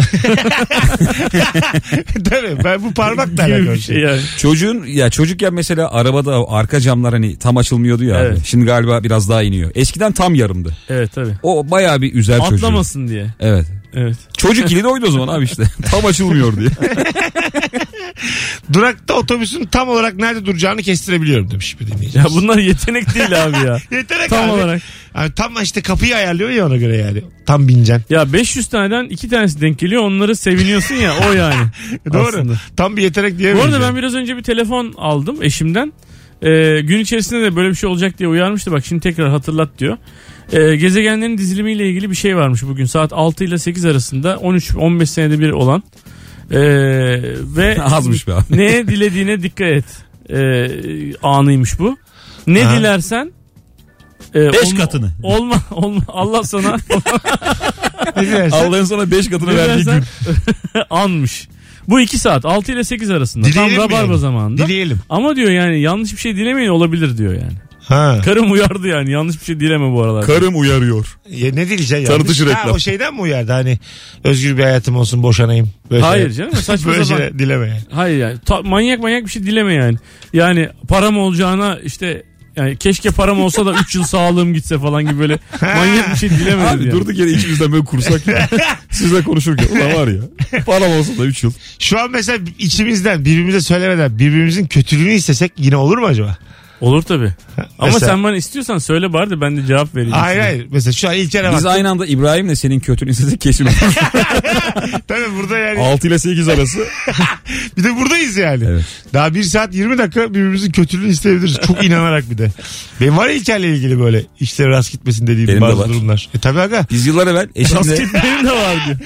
Speaker 2: Tabii. Ben bu parmakla
Speaker 3: Gibi
Speaker 2: alakalı
Speaker 3: bir
Speaker 2: şey.
Speaker 3: şey yani.
Speaker 4: Çocuğun ya çocukken mesela arabada arka camlar hani tam açılmıyordu ya. abi.
Speaker 3: Evet.
Speaker 4: Şimdi galiba biraz daha iniyor. Eskiden tam yarımdı.
Speaker 3: Evet tabii.
Speaker 4: O bayağı bir üzer çocuğu.
Speaker 3: Atlamasın diye.
Speaker 4: Evet.
Speaker 3: Evet.
Speaker 4: Çocuk ili de oydu o zaman abi işte. Tam açılmıyor diye.
Speaker 2: Durakta otobüsün tam olarak nerede duracağını kestirebiliyorum demiş bir
Speaker 3: Ya
Speaker 2: dinleyicimiz.
Speaker 3: bunlar yetenek değil abi ya.
Speaker 2: Yeterek
Speaker 3: Tam
Speaker 2: abi.
Speaker 3: olarak.
Speaker 2: Yani tam işte kapıyı ayarlıyor ya ona göre yani. Tam bineceksin.
Speaker 3: Ya 500 taneden iki tanesi denk geliyor. Onları seviniyorsun ya o yani.
Speaker 2: E, Doğru.
Speaker 3: Aslında.
Speaker 2: Tam bir yeterek
Speaker 3: Bu
Speaker 2: diyemeyiz.
Speaker 3: arada ben
Speaker 2: yani.
Speaker 3: biraz önce bir telefon aldım eşimden. Ee, gün içerisinde de böyle bir şey olacak diye uyarmıştı. Bak şimdi tekrar hatırlat diyor. Ee, gezegenlerin dizilimiyle ilgili bir şey varmış bugün. Saat 6 ile 8 arasında 13-15 senede bir olan. Ee, ve
Speaker 4: Azmış be abi.
Speaker 3: neye dilediğine dikkat et. Ee, anıymış bu. Ne
Speaker 2: Ha.
Speaker 3: dilersen e,
Speaker 4: Beş
Speaker 3: olma-
Speaker 4: katını.
Speaker 3: Olma, olma Allah sana
Speaker 2: Ne dilersen-
Speaker 4: Allah'ın sana 5 katını
Speaker 3: Ne
Speaker 4: verdiği
Speaker 3: dersen-
Speaker 4: gün.
Speaker 3: anmış. Bu 2 saat 6 ile 8 arasında.
Speaker 2: Dileyelim
Speaker 3: Tam
Speaker 2: mi
Speaker 3: rabarba
Speaker 2: yani?
Speaker 3: zamanında.
Speaker 2: Dileyelim.
Speaker 3: Ama diyor yani yanlış bir şey dilemeyin olabilir diyor yani.
Speaker 2: Ha.
Speaker 3: Karım uyardı yani yanlış bir şey dileme bu aralar.
Speaker 4: Karım uyarıyor.
Speaker 2: Ya ne dileyeceksin yani?
Speaker 4: Tanıtıcı
Speaker 2: Ha,
Speaker 4: reklam.
Speaker 2: o şeyden mi uyardı hani özgür bir hayatım olsun boşanayım. Böyle
Speaker 3: Hayır
Speaker 2: şeyler-
Speaker 3: canım saçma
Speaker 2: Böyle
Speaker 3: sapan.
Speaker 2: şeyler dileme yani.
Speaker 3: Hayır yani Ta- manyak manyak bir şey dileme yani. Yani param olacağına işte yani keşke param olsa da 3 yıl sağlığım gitse falan gibi böyle manyak bir şey dilemedi
Speaker 4: Abi
Speaker 3: yani.
Speaker 4: durduk yere ikimizden böyle kursak ya. Sizle konuşurken. Ulan var ya. Param olsa da 3 yıl.
Speaker 2: Şu an mesela içimizden birbirimize söylemeden birbirimizin kötülüğünü istesek yine olur mu acaba?
Speaker 3: Olur tabi. Ama
Speaker 2: Mesela-
Speaker 3: sen bana istiyorsan söyle bari de ben de cevap vereyim.
Speaker 2: Hayır
Speaker 3: size.
Speaker 2: hayır. Mesela şu an İlker'e bak.
Speaker 4: Biz aynı anda İbrahim'le senin kötülüğün sizi kesin.
Speaker 2: Tabii burada yani.
Speaker 4: 6 ile 8 arası.
Speaker 2: Bir de buradayız yani.
Speaker 4: Evet.
Speaker 2: Daha 1 saat 20 dakika birbirimizin kötülüğünü isteyebiliriz. Çok inanarak bir de. Benim var ya İlker'le ilgili böyle işleri rast gitmesin dediğim
Speaker 4: Benim de
Speaker 2: bazı
Speaker 4: var.
Speaker 2: durumlar. E tabii aga.
Speaker 4: Biz yıllar evvel eşimle,
Speaker 3: Benim de var diyor.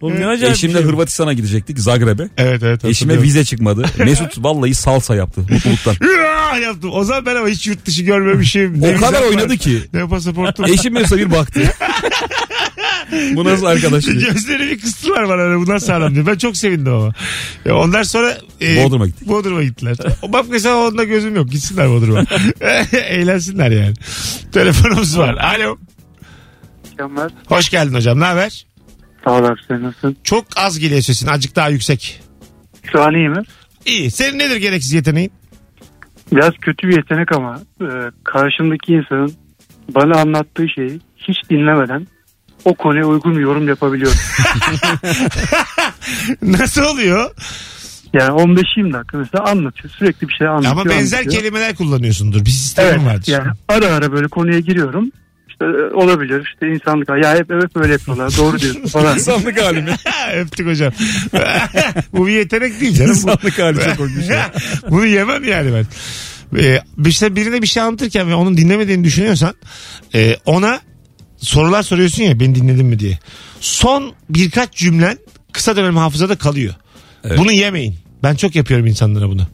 Speaker 3: Oğlum ne acayip bir
Speaker 4: eşimle
Speaker 3: şey bu.
Speaker 4: Hırvatistan'a gidecektik Zagreb'e.
Speaker 2: Evet evet.
Speaker 4: Eşime
Speaker 2: hatırlıyorum.
Speaker 4: vize çıkmadı. Mesut vallahi salsa yaptı mutluluktan.
Speaker 2: Hıra Ah, yaptım. O zaman ben ama hiç yurt dışı görmemişim. Ne
Speaker 4: O kadar
Speaker 2: vizem var,
Speaker 4: oynadı ki.
Speaker 2: Ne pasaportum.
Speaker 4: Eşim mesela bir baktı. Bu nasıl arkadaş? diye.
Speaker 2: Gözleri bir kıstılar bana hani bundan sağlam diye. Ben çok sevindim ama. E ondan sonra... e,
Speaker 4: Bodrum'a gittik.
Speaker 2: Bodrum'a gittiler. O- Bak mesela onda gözüm yok. Gitsinler Bodrum'a. Eğlensinler yani. Telefonumuz var. Alo.
Speaker 5: Mükemmel.
Speaker 2: Hoş geldin hocam. Ne haber?
Speaker 5: Sağ ol abi sen nasılsın?
Speaker 2: Çok az geliyor sesin. Azıcık daha yüksek.
Speaker 5: Şu an iyi mi?
Speaker 2: İyi. Senin nedir gereksiz yeteneğin?
Speaker 5: Biraz kötü bir yetenek ama e, karşımdaki insanın bana anlattığı şeyi hiç dinlemeden o konuya uygun bir yorum yapabiliyorum.
Speaker 2: Nasıl oluyor?
Speaker 5: Yani 15-20 dakika mesela anlatıyor. Sürekli bir şey anlatıyor.
Speaker 2: Ama benzer
Speaker 5: anlatıyor.
Speaker 2: kelimeler kullanıyorsundur. Bir sistemin
Speaker 5: Evet
Speaker 2: vardır.
Speaker 5: yani ara ara böyle konuya giriyorum. İşte e, olabilir işte insanlık ya hep evet böyle yapıyorlar doğru diyorsun falan.
Speaker 4: İnsanlık hali mi?
Speaker 2: Öptük hocam. Bu bir yetenek değil canım. Bu-
Speaker 4: İnsanlık hali çok korkunç. ya.
Speaker 2: Bunu yemem yani ben. Ee, işte birine bir şey anlatırken ve onun dinlemediğini düşünüyorsan e, ona sorular soruyorsun ya beni dinledin mi diye. Son birkaç cümlen kısa dönem hafızada kalıyor.
Speaker 4: Evet.
Speaker 2: Bunu yemeyin. Ben çok yapıyorum insanlara bunu.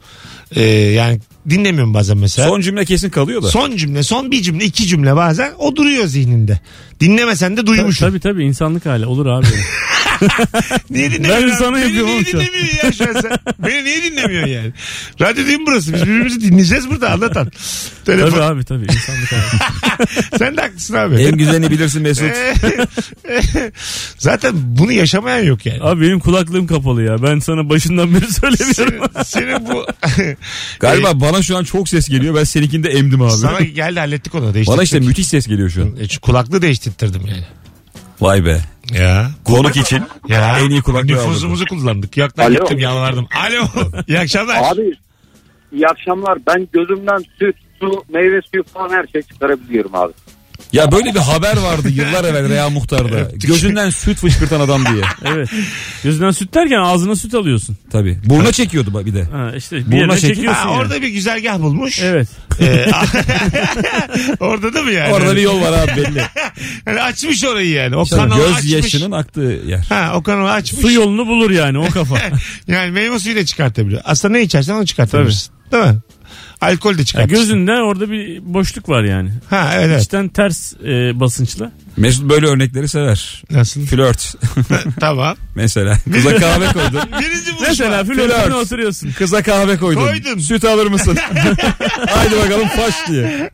Speaker 2: Ee, yani dinlemiyorum bazen mesela.
Speaker 4: Son cümle kesin kalıyor da.
Speaker 2: Son cümle, son bir cümle, iki cümle bazen o duruyor zihninde. Dinlemesen de duymuşsun.
Speaker 3: Tabii tabii insanlık hali olur abi.
Speaker 2: Niye dinlemiyorsun?
Speaker 3: Ben sana yapıyorum
Speaker 2: Beni
Speaker 3: oğlum
Speaker 2: niye
Speaker 3: şu an.
Speaker 2: dinlemiyorsun ya şu an sen? Beni niye dinlemiyorsun yani? Radyo değil mi burası? Biz birbirimizi dinleyeceğiz burada anlatan. Telefon.
Speaker 3: tabii abi tabii insanlık hali.
Speaker 2: Sen de haklısın abi.
Speaker 4: En güzelini bilirsin Mesut.
Speaker 2: Zaten bunu yaşamayan yok yani.
Speaker 3: Abi benim kulaklığım kapalı ya. Ben sana başından beri söylemiyorum.
Speaker 2: Senin, senin bu
Speaker 4: Galiba bana şu an çok ses geliyor. Ben seninkini de emdim abi.
Speaker 2: sana geldi hallettik onu değiştirdik.
Speaker 4: Bana işte müthiş ses geliyor şu an.
Speaker 2: E, şu kulaklığı değiştirttirdim yani.
Speaker 4: Vay be.
Speaker 2: Ya.
Speaker 4: Konuk için
Speaker 2: Ya.
Speaker 4: en iyi kulaklığı aldım.
Speaker 2: Nüfuzumuzu kullandık. Yaktan
Speaker 7: Alo.
Speaker 2: gittim yalvardım. Alo. İyi akşamlar.
Speaker 7: Abi iyi akşamlar. Ben gözümden süt, su, meyve suyu falan her şey çıkarabiliyorum abi.
Speaker 4: Ya böyle bir haber vardı yıllar evvel Reha Muhtar'da. Gözünden süt fışkırtan adam diye.
Speaker 3: evet. Gözünden süt derken ağzına süt alıyorsun.
Speaker 4: Tabii. Burna çekiyordu bak bir de.
Speaker 3: Ha işte bir
Speaker 4: Buruna
Speaker 3: yerine
Speaker 4: çekil-
Speaker 3: çekiyorsun
Speaker 2: Ha,
Speaker 3: yani.
Speaker 2: orada bir güzergah bulmuş.
Speaker 3: Evet.
Speaker 2: Ee, orada da mı yani?
Speaker 4: Orada bir yol var abi belli.
Speaker 2: Yani açmış orayı yani. O
Speaker 4: İşte
Speaker 2: kanalı
Speaker 4: göz
Speaker 2: açmış.
Speaker 4: yaşının aktığı yer.
Speaker 2: Ha, o kanalı açmış.
Speaker 3: Su yolunu bulur yani o kafa.
Speaker 2: Yani meyve suyu da çıkartabiliyor. Aslında ne içersen onu çıkartabilirsin. Değil mi? Alkol de
Speaker 3: Ya
Speaker 2: çıkartabilirsin.
Speaker 3: gözünde orada bir boşluk var yani.
Speaker 2: Ha evet evet.
Speaker 3: İçten ters e, basınçla.
Speaker 4: Mesut böyle örnekleri sever.
Speaker 2: Nasıl?
Speaker 4: Flört
Speaker 2: tamam.
Speaker 4: mesela. Kıza kahve koydun.
Speaker 2: Birinci buluşma.
Speaker 3: Mesela flörtüne oturuyorsun.
Speaker 4: Kıza kahve koydun.
Speaker 2: Koydum.
Speaker 4: Süt alır mısın? Haydi bakalım faş diye.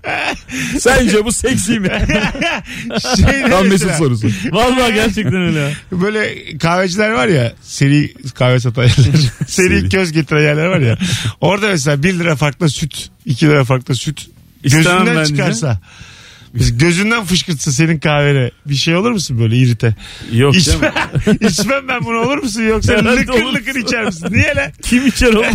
Speaker 4: Sence bu seksi mi?
Speaker 2: Şey ne
Speaker 4: Tam Mesut
Speaker 2: mesela?
Speaker 4: sorusu.
Speaker 3: Vallahi gerçekten öyle. ya.
Speaker 2: Böyle kahveciler var ya seri kahve satan yerler. seri
Speaker 4: Seri.
Speaker 2: köz getiren yerler var ya. Orada mesela 1 lira farkla süt, 2 lira farkla süt
Speaker 3: İstemem
Speaker 2: gözünden
Speaker 3: bence.
Speaker 2: çıkarsa. Biz gözünden fışkırtsa senin kahvene bir şey olur musun böyle irite?
Speaker 3: Yok canım.
Speaker 2: İçme, içmem ben bunu olur musun yoksa
Speaker 3: Herhalde
Speaker 2: lıkır
Speaker 3: olursun.
Speaker 2: lıkır içer misin? Niye lan?
Speaker 3: Kim içer oğlum?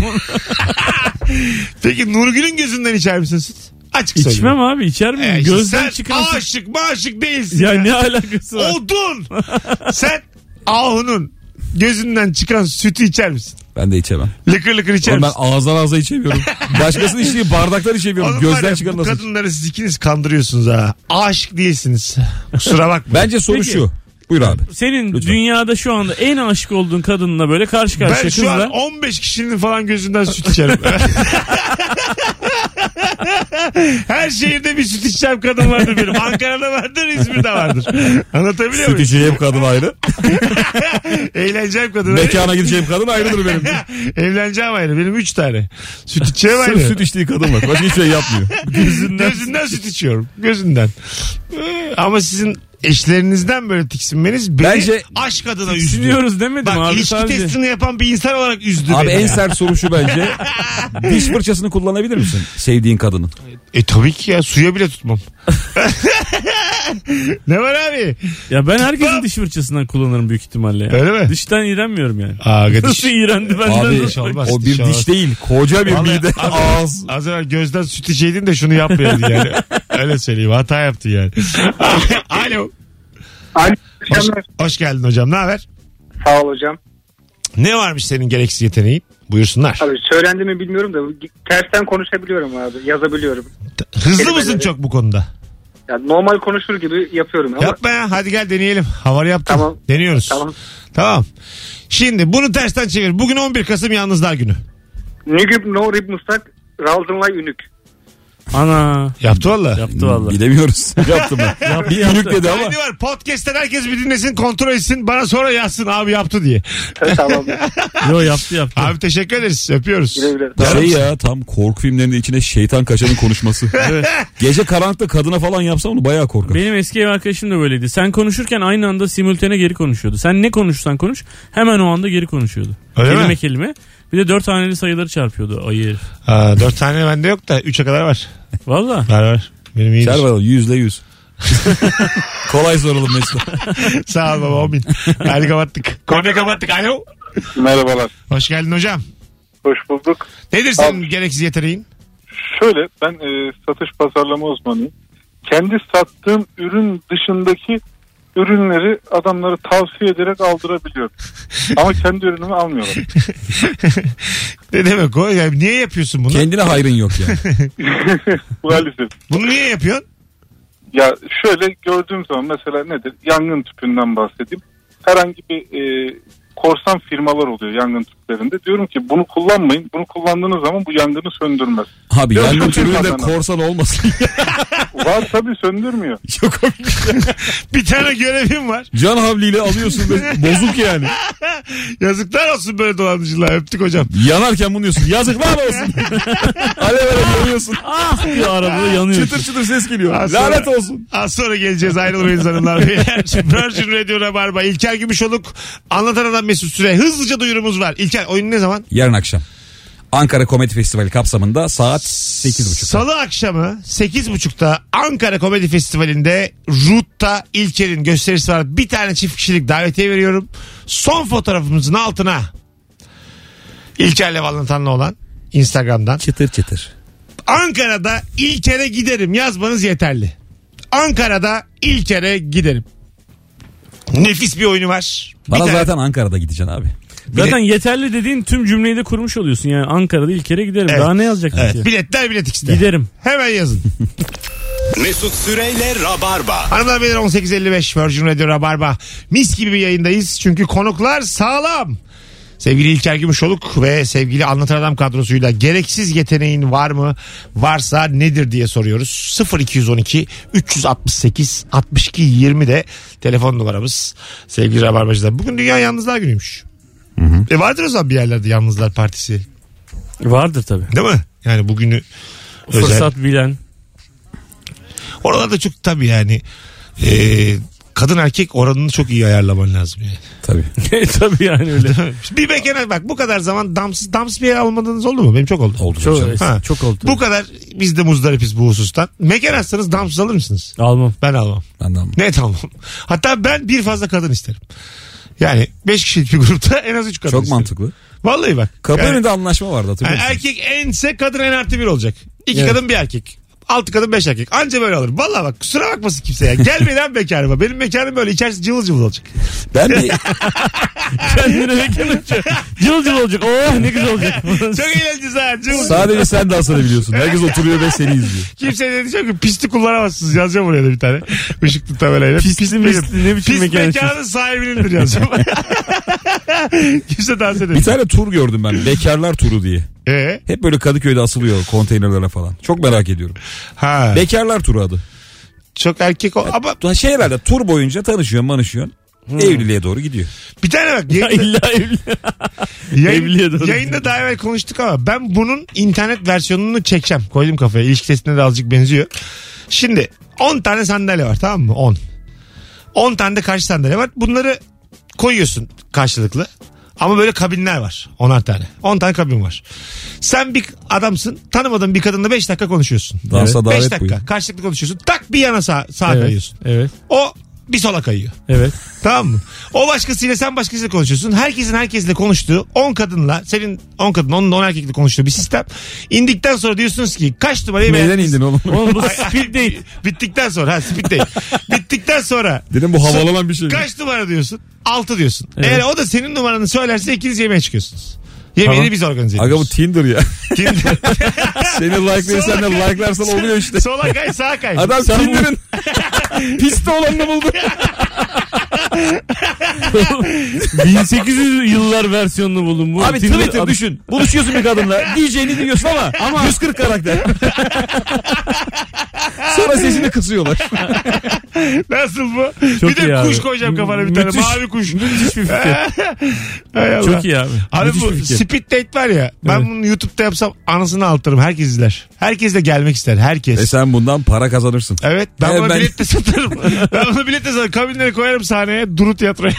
Speaker 2: Peki Nurgül'ün gözünden içer misin süt? Açık söyleyeyim.
Speaker 3: İçmem abi içer miyim?
Speaker 2: Ee, işte
Speaker 3: Gözden
Speaker 2: sen
Speaker 3: çıkarsa.
Speaker 2: aşık maşık değilsin.
Speaker 3: Ya ne alakası var?
Speaker 2: Odun. sen ahunun gözünden çıkan sütü içer misin?
Speaker 4: Ben de içemem.
Speaker 2: Lıkır lıkır içer
Speaker 4: Oğlum ben
Speaker 2: misin?
Speaker 4: ağızdan ağza içemiyorum. Başkasının içtiği bardaklar içemiyorum.
Speaker 2: Oğlum var ya,
Speaker 4: Gözden çıkan
Speaker 2: bu
Speaker 4: nasıl?
Speaker 2: kadınları siz ikiniz kandırıyorsunuz ha. Aşık değilsiniz. Kusura bakma.
Speaker 4: Bence soru
Speaker 3: Peki.
Speaker 4: şu. Buyur abi.
Speaker 3: Senin
Speaker 4: Lütfen.
Speaker 3: dünyada şu anda en aşık olduğun kadınla böyle karşı
Speaker 2: Ben
Speaker 3: karşıya
Speaker 2: şu
Speaker 3: kızla.
Speaker 2: an 15 kişinin falan gözünden süt içerim. Her şehirde bir süt içeceğim kadın vardır benim. Ankara'da vardır, İzmir'de vardır. Anlatabiliyor
Speaker 4: Süt
Speaker 2: muyum?
Speaker 4: içeceğim kadın ayrı.
Speaker 2: Eğleneceğim kadın. ayrı,
Speaker 4: Mekana gideceğim kadın ayrıdır benim.
Speaker 2: Evleneceğim ayrı. Benim 3 tane. Süt içeceğim ayrı.
Speaker 4: Sırf süt içtiği kadın var. Başka hiçbir şey yapmıyor.
Speaker 2: Gözünden, süt içiyorum. Gözünden. Ee, Ama sizin eşlerinizden böyle tiksinmeniz beni
Speaker 4: Bence
Speaker 2: aşk adına üzdü.
Speaker 3: Siniyoruz demedim
Speaker 2: Bak
Speaker 3: abi
Speaker 2: ilişki
Speaker 3: sadece.
Speaker 2: testini yapan bir insan olarak üzdü
Speaker 4: Abi
Speaker 2: beni.
Speaker 4: en
Speaker 2: ya.
Speaker 4: sert soru şu bence. Diş fırçasını kullanabilir misin? Sevdiğin kadının.
Speaker 2: E tabii ki ya suya bile tutmam. ne var abi?
Speaker 3: Ya ben herkesin
Speaker 2: Lan!
Speaker 3: diş fırçasından kullanırım büyük ihtimalle. Yani.
Speaker 2: Öyle mi?
Speaker 3: Dişten iğrenmiyorum yani.
Speaker 2: Aa,
Speaker 3: Nasıl
Speaker 2: gadiş.
Speaker 3: iğrendi benden?
Speaker 4: Abi
Speaker 2: diş olmaz,
Speaker 4: o
Speaker 2: diş
Speaker 4: bir
Speaker 2: olmaz.
Speaker 4: diş değil. Koca bir
Speaker 2: Vallahi-
Speaker 4: mide
Speaker 2: Abi-
Speaker 4: ağız.
Speaker 2: Az evvel gözden süt içeydin de şunu yapmayaydın yani. Öyle söyleyeyim hata yaptın yani. Alo.
Speaker 9: Alo.
Speaker 2: Hoş, hoş geldin hocam ne haber?
Speaker 9: Sağ ol hocam.
Speaker 2: Ne varmış senin gereksiz yeteneğin? Buyursunlar.
Speaker 9: Abi söylendi mi bilmiyorum da tersten konuşabiliyorum abi. Yazabiliyorum.
Speaker 2: Hızlı
Speaker 9: kelimeleri-
Speaker 2: mısın çok bu konuda?
Speaker 9: Yani normal konuşur gibi yapıyorum ama
Speaker 2: Yapma ya hadi gel deneyelim. Havar yaptım.
Speaker 9: Tamam.
Speaker 2: Deniyoruz.
Speaker 9: Tamam.
Speaker 2: Tamam. Şimdi bunu tersten çevir. Bugün 11 Kasım Yalnızlar Günü.
Speaker 9: Nügüb no rib mustak Raldınlay ünük.
Speaker 3: Ana
Speaker 2: Yaptı valla.
Speaker 3: yaptı valla.
Speaker 4: Bilemiyoruz. Yaptım ben. bir
Speaker 3: yaptı.
Speaker 4: ünlük dedi ama.
Speaker 2: Haydi var podcast'ten herkes bir dinlesin kontrol etsin bana sonra yazsın abi yaptı diye.
Speaker 9: tamam.
Speaker 3: Yo yaptı yaptı.
Speaker 2: Abi teşekkür ederiz öpüyoruz.
Speaker 9: Güle güle.
Speaker 4: Şey ya tam korku filmlerinin içine şeytan kaçanın konuşması. Gece karanlıkta kadına falan yapsam onu bayağı korkarım.
Speaker 3: Benim eski ev arkadaşım da böyleydi. Sen konuşurken aynı anda simultane geri konuşuyordu. Sen ne konuşsan konuş hemen o anda geri konuşuyordu.
Speaker 2: Öyle
Speaker 3: kelime
Speaker 2: mi?
Speaker 3: kelime. Bir de dört haneli sayıları çarpıyordu ayı herif.
Speaker 2: Aa, dört tane bende yok da üçe kadar var.
Speaker 3: Valla.
Speaker 2: Var var. Benim iyidir.
Speaker 4: Server yüzde yüz. Kolay soralım Mesut.
Speaker 2: Sağ ol baba o bin. Hadi kapattık. Konuyu kapattık. Alo.
Speaker 5: Merhabalar.
Speaker 2: Hoş geldin hocam.
Speaker 5: Hoş bulduk.
Speaker 2: Nedir senin gereksiz yeteneğin?
Speaker 5: Şöyle ben e, satış pazarlama uzmanıyım. Kendi sattığım ürün dışındaki ürünleri adamlara tavsiye ederek aldırabiliyorum. Ama kendi ürünümü almıyorlar.
Speaker 2: Ne demek o? Yani niye yapıyorsun bunu?
Speaker 4: Kendine hayrın yok yani.
Speaker 5: Maalesef.
Speaker 2: Bunu niye yapıyorsun?
Speaker 5: Ya şöyle gördüğüm zaman mesela nedir? Yangın tüpünden bahsedeyim. Herhangi bir e, korsan firmalar oluyor yangın tüplerinde. Diyorum ki bunu kullanmayın. Bunu kullandığınız zaman bu yangını söndürmez.
Speaker 4: Abi
Speaker 5: Yok,
Speaker 4: yangın
Speaker 5: yok,
Speaker 4: türünü
Speaker 5: yok,
Speaker 4: de
Speaker 5: yok.
Speaker 4: korsan olmasın.
Speaker 5: Var tabii söndürmüyor.
Speaker 4: Yok
Speaker 2: Bir tane görevim var.
Speaker 4: Can havliyle alıyorsun ve bozuk yani.
Speaker 2: Yazıklar olsun böyle dolandırıcılar. Öptük hocam.
Speaker 4: Yanarken bunu diyorsun. Yazıklar olsun. alev alev yanıyorsun.
Speaker 3: Ah diye arabada yanıyor.
Speaker 4: Çıtır çıtır ses geliyor.
Speaker 2: Az sonra-
Speaker 4: Lanet olsun.
Speaker 2: Az sonra geleceğiz ayrılmayınız hanımlar beyler. Virgin Radio Rabarba. İlker Gümüşoluk. Anlatan adam Mesut Süre. Hızlıca duyurumuz var. İlker oyun ne zaman?
Speaker 4: Yarın akşam. Ankara Komedi Festivali kapsamında saat 8.30.
Speaker 2: Salı akşamı 8.30'da Ankara Komedi Festivali'nde Root'ta İlker'in gösterisi var. Bir tane çift kişilik davetiye veriyorum. Son fotoğrafımızın altına İlker'le Valentan'la olan Instagram'dan.
Speaker 4: Çıtır çıtır.
Speaker 2: Ankara'da İlker'e giderim yazmanız yeterli. Ankara'da İlker'e giderim. Nefis bir oyunu var. Bir
Speaker 4: Bana
Speaker 2: tane-
Speaker 4: zaten Ankara'da gideceksin abi.
Speaker 3: Zaten yeterli dediğin tüm cümleyi de kurmuş oluyorsun. Yani Ankara'da ilk kere giderim.
Speaker 2: Evet.
Speaker 3: Daha ne yazacak?
Speaker 2: Evet,
Speaker 3: ki?
Speaker 2: biletler bilet X'te.
Speaker 3: Giderim.
Speaker 2: Hemen yazın.
Speaker 1: Mesut Süreyle Rabarba.
Speaker 2: Hanımlar beyler 18.55 Virgin Radio Rabarba. Mis gibi bir yayındayız çünkü konuklar sağlam. Sevgili İlker Gümüşoluk ve sevgili Anlatan Adam kadrosuyla gereksiz yeteneğin var mı? Varsa nedir diye soruyoruz. 0212 368 62 20 de telefon numaramız sevgili Rabarbacılar. Bugün Dünya Yalnızlar Günü'ymüş. E vardır o zaman bir yerlerde Yalnızlar Partisi
Speaker 3: Vardır tabii.
Speaker 2: değil mi? Yani bugünü özel.
Speaker 3: Fırsat bilen.
Speaker 2: Oralarda çok tabii yani eee, e, kadın erkek oranını çok iyi ayarlaman lazım yani.
Speaker 4: Tabii.
Speaker 3: E, Tabii yani öyle.
Speaker 2: bir mekana bak bu kadar zaman damsız damsız bir yer almadığınız oldu mu? Benim çok oldu.
Speaker 4: Oldu
Speaker 3: Çok,
Speaker 4: canım.
Speaker 2: Ha.
Speaker 3: çok oldu.
Speaker 2: Bu kadar biz de muzdaripiz bu husustan. Mekan açsanız damsız alır mısınız?
Speaker 3: Almam.
Speaker 2: Ben almam.
Speaker 4: Ben de almam.
Speaker 2: Net almam. Hatta ben bir fazla kadın isterim. Yani 5 kişilik bir grupta en az 3 kadın
Speaker 4: Çok
Speaker 2: isterim.
Speaker 4: mantıklı.
Speaker 2: Vallahi bak.
Speaker 4: Kapı
Speaker 2: Yani-
Speaker 4: önünde anlaşma vardı hatırlıyor
Speaker 2: yani
Speaker 4: musun?
Speaker 2: erkek ense kadın en artı bir olacak. İki
Speaker 3: Evet.
Speaker 2: kadın bir erkek. Altı kadın beş erkek. Anca böyle olur. Vallahi bak kusura bakmasın kimse ya. Gelmeyin lan mekanıma. Benim mekanım böyle içerisi cıvıl cıvıl olacak.
Speaker 4: Ben de
Speaker 3: Kendine mekan açıyor. Cıl cıl olacak. Oh ne güzel olacak.
Speaker 2: Çok eğlenceli ha cıvıl cıvıl.
Speaker 4: sadece sen dans edebiliyorsun. Herkes oturuyor ve seni izliyor.
Speaker 2: Kimse de diyecek şey ki pisti kullanamazsınız. Yazacağım oraya da bir tane. Işıklı tabelayla.
Speaker 3: Pisli misli
Speaker 2: benim.
Speaker 3: ne biçim
Speaker 2: Pis
Speaker 3: mekan açıyorsun?
Speaker 2: mekanın sahibinindir yazacağım. Kimse dans
Speaker 4: Bir
Speaker 2: edemez.
Speaker 4: tane tur gördüm ben. Bekarlar turu diye.
Speaker 2: Ee,
Speaker 4: Hep böyle Kadıköy'de asılıyor konteynerlere falan. Çok merak ediyorum.
Speaker 2: ha.
Speaker 4: Bekarlar turu adı.
Speaker 2: Çok erkek o. Ama
Speaker 4: Şey herhalde tur boyunca tanışıyorsun manışıyorsun. Evliliğe doğru gidiyor.
Speaker 2: bir tane bak.
Speaker 3: Ya
Speaker 2: Yayında,
Speaker 3: İlla evli.
Speaker 2: yayın-
Speaker 3: evliliğe doğru
Speaker 2: yayında daha evvel konuştuk ama ben bunun internet versiyonunu çekeceğim. Koydum kafaya. İlişki testine de azıcık benziyor. Şimdi 10 tane sandalye var tamam mı? 10. 10 tane de karşı sandalye var. Bunları koyuyorsun karşılıklı. Ama böyle kabinler var. 10'ar tane. 10 tane kabin var. Sen bir adamsın. Tanımadığın bir kadınla 5 dakika konuşuyorsun.
Speaker 4: Dansa davet
Speaker 2: 5
Speaker 4: bu
Speaker 2: dakika.
Speaker 4: ya.
Speaker 2: Karşılıklı konuşuyorsun. Tak bir yana sağa, sağa
Speaker 3: Evet.
Speaker 2: kayıyorsun.
Speaker 3: Evet.
Speaker 2: O bir sola kayıyor.
Speaker 3: Evet.
Speaker 2: Tamam mı? O başkasıyla sen başkasıyla konuşuyorsun. Herkesin herkesle konuştuğu 10 kadınla senin 10 kadın onun 10 erkekle konuştuğu bir sistem. İndikten sonra diyorsunuz ki kaç numarayı
Speaker 4: Neyden
Speaker 2: beğendiniz?
Speaker 4: indin oğlum?
Speaker 3: Oğlum bu speed değil.
Speaker 2: Bittikten sonra ha speed değil. Bittikten sonra
Speaker 4: Dedim bu havalanan bir şey.
Speaker 2: kaç numara diyorsun? 6 diyorsun.
Speaker 3: Evet.
Speaker 2: Eğer o da senin numaranı söylerse ikiniz yemeğe çıkıyorsunuz. Yemeğini
Speaker 3: Tamam.
Speaker 2: biz organize
Speaker 4: Aga bu
Speaker 2: ediyoruz.
Speaker 4: Tinder ya.
Speaker 2: Kim-
Speaker 4: Seni likelayırsan da
Speaker 2: Sola kay.
Speaker 4: likelarsan oluyor işte.
Speaker 2: Sola kay sağa kay.
Speaker 4: Adam Tinder'ın piste olanını buldu.
Speaker 3: 1800 yıllar versiyonunu buldum. Bu
Speaker 4: Abi
Speaker 3: Tinder
Speaker 4: Twitter
Speaker 3: adı-
Speaker 4: düşün. Buluşuyorsun bir kadınla. Diyeceğini diyorsun ama, ama 140 karakter. Sonra sesini kısıyorlar.
Speaker 2: Nasıl bu?
Speaker 3: Çok
Speaker 2: bir de
Speaker 3: iyi
Speaker 2: kuş
Speaker 3: abi.
Speaker 2: koyacağım kafana bir tane.
Speaker 3: Müthiş.
Speaker 2: Mavi kuş.
Speaker 3: Müthiş bir fikir.
Speaker 2: Hay Allah.
Speaker 3: Çok iyi abi.
Speaker 2: Abi
Speaker 3: Müthiş
Speaker 2: bu
Speaker 3: bir fikir.
Speaker 2: speed date var ya. Ben
Speaker 3: Evet.
Speaker 2: bunu YouTube'da yapsam anasını altırım. Herkes izler. Herkes de gelmek ister. Herkes.
Speaker 4: Ve E sen bundan para kazanırsın.
Speaker 2: Evet ben
Speaker 4: Evet,
Speaker 2: buna
Speaker 4: ben-
Speaker 2: bilet de satarım. ben buna bilet de satarım. Kabinleri koyarım sahneye. Duru tiyatroya.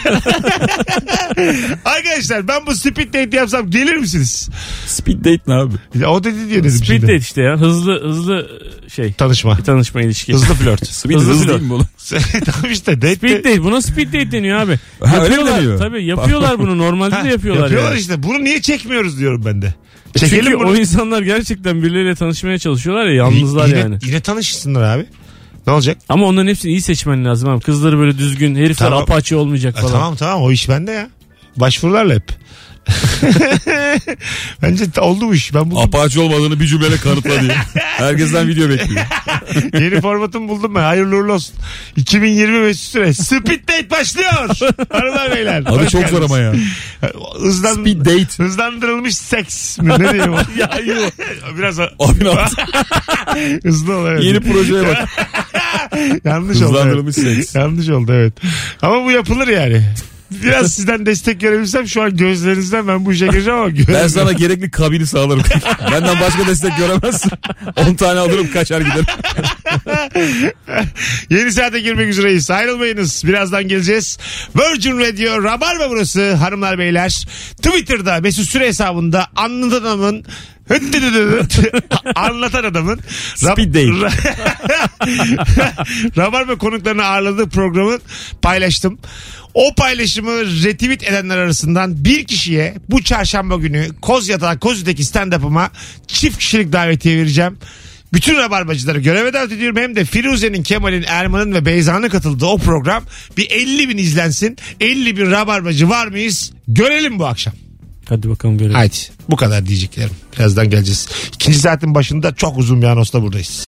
Speaker 2: Arkadaşlar ben bu speed date yapsam gelir misiniz?
Speaker 4: Speed date ne abi?
Speaker 2: Ya O dedi diye dedim
Speaker 3: Speed
Speaker 2: şimdi.
Speaker 3: date işte ya. Hızlı hızlı şey.
Speaker 2: Tanışma.
Speaker 3: Tanışma ilişki.
Speaker 2: Hızlı flört.
Speaker 4: Speed
Speaker 3: Hızlı
Speaker 4: hızlı,
Speaker 3: flört.
Speaker 4: değil mi oğlum?
Speaker 2: tamam işte date de-
Speaker 3: Speed date. Buna speed date deniyor abi.
Speaker 4: Ha, öyle mi
Speaker 3: yapıyorlar.
Speaker 4: deniyor?
Speaker 3: Tabii yapıyorlar bunu. Normalde de yapıyorlar.
Speaker 2: Yapıyorlar
Speaker 3: yani. E,
Speaker 2: işte. Bunu niye çekmiyoruz diyorum ben de. Çekelim
Speaker 3: Çünkü
Speaker 2: bunu.
Speaker 3: o insanlar gerçekten birileriyle tanışmaya çalışıyorlar ya
Speaker 2: Y-
Speaker 3: yalnızlar
Speaker 2: yine,
Speaker 3: yani.
Speaker 2: Yine tanışsınlar abi. Ne olacak?
Speaker 3: Ama onların hepsini iyi seçmen lazım abi. Kızları böyle düzgün, herifler
Speaker 2: Tamam.
Speaker 3: apaçı olmayacak
Speaker 2: E,
Speaker 3: falan.
Speaker 2: tamam tamam o iş bende ya. Başvurularla hep. Bence oldu bu iş. Ben buldum.
Speaker 4: Apache olmadığını bir cümleyle kanıtla diye. Herkesten video bekliyor.
Speaker 2: Yeni formatımı buldum ben. Hayırlı uğurlu olsun. 2020 Mesut Süre. Speed Date başlıyor. Hanımlar beyler.
Speaker 4: Adı
Speaker 2: Hoş
Speaker 4: çok
Speaker 2: geldiniz.
Speaker 4: zor ama ya.
Speaker 2: Hızlan...
Speaker 4: Speed date.
Speaker 2: Hızlandırılmış seks mi? Ne diyeyim? ya yok. Biraz
Speaker 4: Abi ne yaptın?
Speaker 2: hızlı ol. evet.
Speaker 4: Yeni projeye bak.
Speaker 2: Yanlış oldu. evet.
Speaker 4: Hızlandırılmış seks.
Speaker 2: Yanlış oldu evet. Ama bu yapılır yani. Biraz sizden destek görebilsem şu an gözlerinizden ben bu işe gireceğim ama
Speaker 4: Ben
Speaker 2: göremiyorum.
Speaker 4: sana gerekli kabini sağlarım. Benden başka destek göremezsin. 10 tane alırım kaçar giderim.
Speaker 2: Yeni saate girmek üzereyiz. Ayrılmayınız. Birazdan geleceğiz. Virgin Radio Rabarba burası. Hanımlar beyler. Twitter'da Mesut Süre hesabında anlatan adamın anlatan adamın
Speaker 4: Speed date.
Speaker 2: Rabarba konuklarını ağırladığı programı paylaştım. O paylaşımı retweet edenler arasından bir kişiye bu çarşamba günü Koz Yatağı Kozü'deki stand-up'ıma çift kişilik davetiye vereceğim. Bütün rabarbacıları göreve davet ediyorum. Hem de Firuze'nin, Kemal'in, Erman'ın ve Beyza'nın katıldığı o program bir 50 bin izlensin. 50 bin rabarbacı var mıyız? Görelim bu akşam.
Speaker 3: Hadi bakalım görelim.
Speaker 2: Haydi bu kadar diyeceklerim. Birazdan geleceğiz. İkinci saatin başında çok uzun bir anosta buradayız.